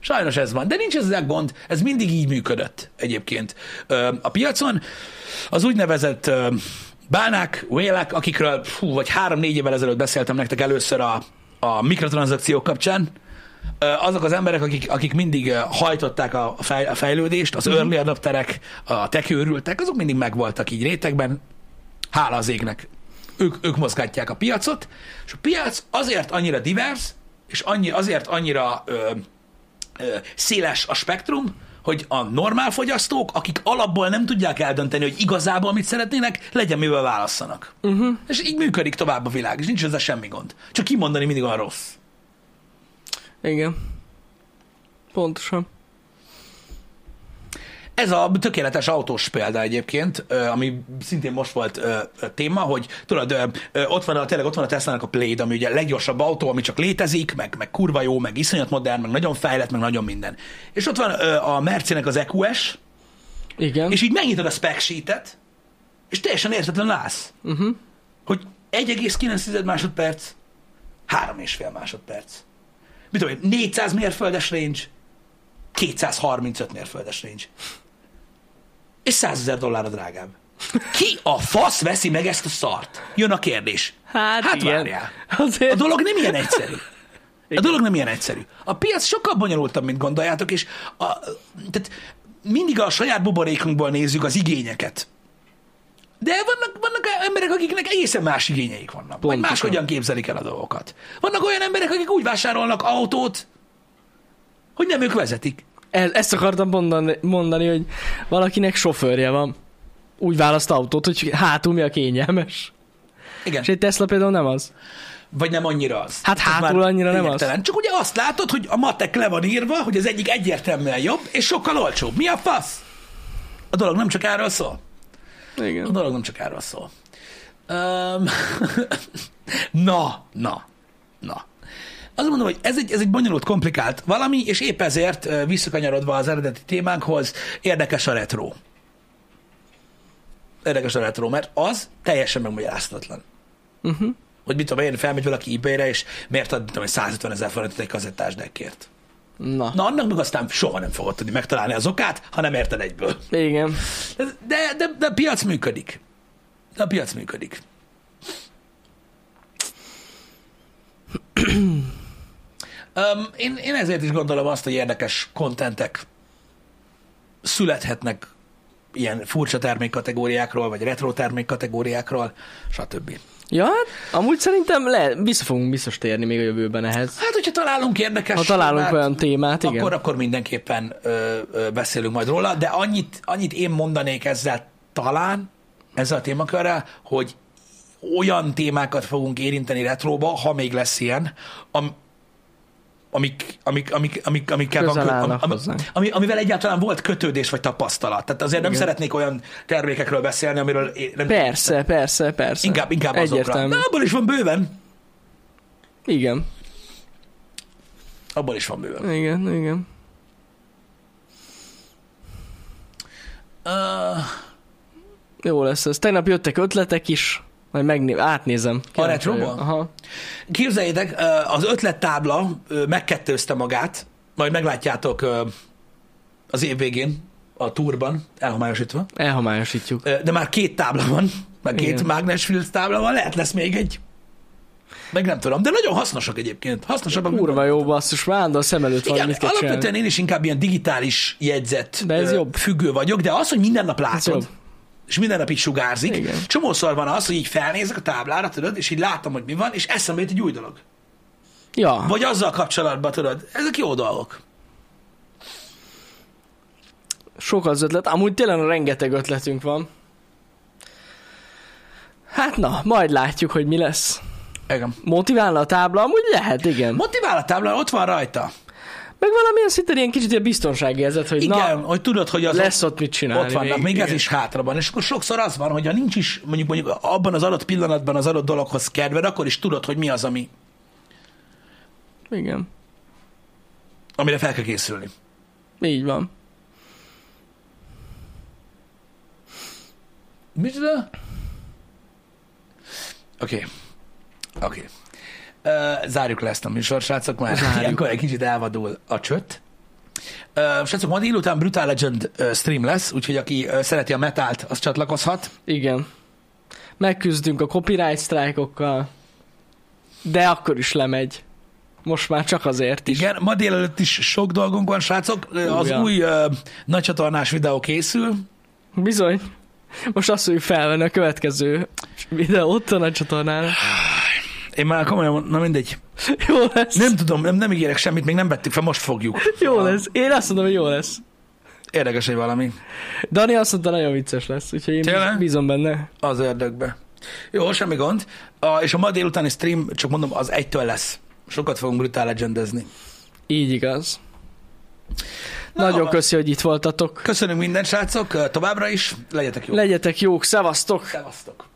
[SPEAKER 1] Sajnos ez van, de nincs ezzel gond, ez mindig így működött egyébként. Ö, A piacon az úgynevezett ö, bánák, vélek, akikről fú, vagy három-négy évvel ezelőtt beszéltem nektek először a, a mikrotranszakciók kapcsán, Ö, azok az emberek, akik, akik mindig ö, hajtották a, fej, a fejlődést, az early adapterek, a tekőrültek, azok mindig megvoltak így rétegben, hála az égnek. Ők, ők mozgatják a piacot, és a piac azért annyira divers, és annyi, azért annyira ö, ö, széles a spektrum, hogy a normál fogyasztók, akik alapból nem tudják eldönteni, hogy igazából mit szeretnének, legyen mivel válasszanak. Uh-huh. És így működik tovább a világ, és nincs ezzel semmi gond. Csak kimondani mindig olyan rossz.
[SPEAKER 2] Igen. Pontosan.
[SPEAKER 1] Ez a tökéletes autós példa egyébként, ö, ami szintén most volt ö, ö, téma, hogy tudod, ö, ö, ott van a, tényleg ott van a Tesla-nak a Plaid, ami ugye a leggyorsabb autó, ami csak létezik, meg, meg kurva jó, meg iszonyat modern, meg nagyon fejlett, meg nagyon minden. És ott van ö, a Mercinek az E EQS,
[SPEAKER 2] Igen.
[SPEAKER 1] és így megnyitod a spec sheetet, és teljesen értetlen állsz. Uh-huh.
[SPEAKER 2] Mhm.
[SPEAKER 1] Hogy 1,9 másodperc, 3,5 másodperc. Mit tudom én, 400 mérföldes range, 235 mérföldes range. És 100 ezer dollárra drágább. Ki a fasz veszi meg ezt a szart? Jön a kérdés.
[SPEAKER 2] Hát,
[SPEAKER 1] Hát
[SPEAKER 2] igen.
[SPEAKER 1] várjál.
[SPEAKER 2] Azért...
[SPEAKER 1] A dolog nem ilyen egyszerű. A dolog nem ilyen egyszerű. A piac sokkal bonyolultabb, mint gondoljátok, és a, tehát mindig a saját buborékunkból nézzük az igényeket. De vannak, vannak emberek, akiknek egészen más igényeik vannak. Vagy
[SPEAKER 2] Pontosan.
[SPEAKER 1] máshogyan képzelik el a dolgokat. Vannak olyan emberek, akik úgy vásárolnak autót, hogy nem ők vezetik.
[SPEAKER 2] E- Ezt akartam mondani, mondani, hogy valakinek sofőrje van. Úgy választ autót, hogy hátul mi a kényelmes.
[SPEAKER 1] Igen.
[SPEAKER 2] És egy Tesla például nem az.
[SPEAKER 1] Vagy nem annyira az.
[SPEAKER 2] Hát hátul
[SPEAKER 1] már
[SPEAKER 2] annyira nem az.
[SPEAKER 1] lényegtelen. Csak ugye azt látod, hogy a matek le van írva, hogy az egyik egyértelműen jobb, és sokkal olcsóbb. Mi a fasz? A dolog nem csak erről szól. A
[SPEAKER 2] Igen.
[SPEAKER 1] dolog nem csak erről szól. Um, <laughs> na, na, na. Azt mondom, hogy ez egy, ez egy bonyolult, komplikált valami, és épp ezért ö, visszakanyarodva az eredeti témánkhoz, érdekes a retro. Érdekes a retro, mert az teljesen megmagyarázhatatlan.
[SPEAKER 2] Uh-huh.
[SPEAKER 1] Hogy mit tudom én, felmegy valaki ebay-re, és miért ad, mit tudom én, 150 ezer forintot egy kazettás deckért.
[SPEAKER 2] Na.
[SPEAKER 1] Na, annak meg aztán soha nem fogod tudni megtalálni az okát, ha nem érted egyből.
[SPEAKER 2] Igen.
[SPEAKER 1] De, de, de a piac működik. De a piac működik. um, én, én ezért is gondolom azt, hogy érdekes kontentek születhetnek ilyen furcsa termékkategóriákról, vagy retro termékkategóriákról, stb.
[SPEAKER 2] Ja, hát amúgy szerintem le, vissza fogunk biztos térni még a jövőben ehhez.
[SPEAKER 1] Hát, hogyha találunk érdekes...
[SPEAKER 2] Ha találunk
[SPEAKER 1] témát,
[SPEAKER 2] olyan témát, igen.
[SPEAKER 1] Akkor, akkor mindenképpen ö, ö, beszélünk majd róla, de annyit, annyit én mondanék ezzel talán, ezzel a témakörrel, hogy olyan témákat fogunk érinteni retróba, ha még lesz ilyen, am, amik, amik, amik, amik, amikkel
[SPEAKER 2] Közel
[SPEAKER 1] kö-
[SPEAKER 2] állnak
[SPEAKER 1] am,
[SPEAKER 2] hozzánk.
[SPEAKER 1] ami, amivel egyáltalán volt kötődés vagy tapasztalat. Tehát azért nem szeretnék olyan termékekről beszélni, amiről én nem,
[SPEAKER 2] Persze, persze, persze.
[SPEAKER 1] inkább, inkább azokra.
[SPEAKER 2] Egyértelmű.
[SPEAKER 1] De abból is van bőven.
[SPEAKER 2] Igen.
[SPEAKER 1] Abból is van bőven.
[SPEAKER 2] Igen, igen.
[SPEAKER 1] Uh,
[SPEAKER 2] Jó lesz ez. Tegnap jöttek ötletek is, majd megné- átnézem. Kíváncsi
[SPEAKER 1] retroba?
[SPEAKER 2] vagyok. Aha.
[SPEAKER 1] Képzeljétek, ö, az ötlettábla ö, megkettőzte magát, majd meglátjátok ö, az év végén a túrban, elhomályosítva.
[SPEAKER 2] Elhomályosítjuk.
[SPEAKER 1] Ö, De már két tábla van, már két
[SPEAKER 2] Igen.
[SPEAKER 1] mágnesfield tábla van, lehet lesz még egy. Meg nem tudom, de nagyon hasznosak egyébként. Hasznosabbak. mint-
[SPEAKER 2] Kurva jó basszus, állandóan szem előtt van,
[SPEAKER 1] Igen,
[SPEAKER 2] mit kell
[SPEAKER 1] alapvetően
[SPEAKER 2] csinálni.
[SPEAKER 1] én is inkább ilyen digitális jegyzet
[SPEAKER 2] De ez
[SPEAKER 1] ö,
[SPEAKER 2] jobb.
[SPEAKER 1] függő vagyok, de az, hogy minden nap
[SPEAKER 2] jobb.
[SPEAKER 1] látod, és minden nap így sugárzik,
[SPEAKER 2] Igen.
[SPEAKER 1] csomószor van az, hogy így felnézek a táblára, tudod, és így látom, hogy mi van, és eszembe jut egy új dolog.
[SPEAKER 2] Ja,
[SPEAKER 1] Vagy azzal kapcsolatban, tudod, ezek jó dolgok.
[SPEAKER 2] sok az ötlet. Amúgy tényleg rengeteg ötletünk van. Hát na, majd látjuk, hogy mi lesz.
[SPEAKER 1] Igen.
[SPEAKER 2] Motiválna a tábla? Amúgy lehet, igen.
[SPEAKER 1] Motivál a tábla, ott van rajta.
[SPEAKER 2] Meg valamilyen szinten ilyen kicsit ilyen biztonságérzet, hogy
[SPEAKER 1] Igen,
[SPEAKER 2] na,
[SPEAKER 1] hogy tudod, hogy az
[SPEAKER 2] lesz ott mit csinálni.
[SPEAKER 1] ott vannak, még ez
[SPEAKER 2] igen.
[SPEAKER 1] is hátra van. És akkor sokszor az van, hogy ha nincs is, mondjuk, mondjuk abban az adott pillanatban az adott dologhoz kedved, akkor is tudod, hogy mi az, ami,
[SPEAKER 2] Igen,
[SPEAKER 1] amire fel kell készülni.
[SPEAKER 2] így van.
[SPEAKER 1] Micsoda? Oké. Okay. Oké. Okay. Zárjuk le ezt a műsor, srácok, már
[SPEAKER 2] Zárjuk.
[SPEAKER 1] ilyenkor egy kicsit elvadul a csött. Ö, Srácok, ma délután Brutal Legend ö, stream lesz, úgyhogy aki ö, szereti a metált, az csatlakozhat.
[SPEAKER 2] Igen. Megküzdünk a copyright sztrájkokkal, de akkor is lemegy. Most már csak azért is.
[SPEAKER 1] Igen, ma délelőtt is sok dolgunk van, srácok. Ö, Az
[SPEAKER 2] Ugyan.
[SPEAKER 1] új ö, nagycsatornás videó készül.
[SPEAKER 2] Bizony. Most azt fogjuk felvenni a következő videót a nagy csatornára.
[SPEAKER 1] Én már komolyan, na mindegy.
[SPEAKER 2] Jó lesz.
[SPEAKER 1] Nem tudom, nem, nem ígérek semmit, még nem vettük fel, most fogjuk.
[SPEAKER 2] Jó lesz. Én azt mondom, hogy jó lesz.
[SPEAKER 1] Érdekes, hogy valami.
[SPEAKER 2] Dani azt mondta, nagyon vicces lesz, úgyhogy én
[SPEAKER 1] Tényleg?
[SPEAKER 2] bízom benne.
[SPEAKER 1] Az ördögbe. Jó, semmi gond. A, és a ma délutáni stream, csak mondom, az egytől lesz. Sokat fogunk brutál legendezni.
[SPEAKER 2] Így igaz.
[SPEAKER 1] Na,
[SPEAKER 2] Nagyon
[SPEAKER 1] van.
[SPEAKER 2] köszi, hogy itt voltatok.
[SPEAKER 1] Köszönünk minden srácok, továbbra is. Legyetek jók.
[SPEAKER 2] Legyetek jók, szevasztok!
[SPEAKER 1] Szevasztok.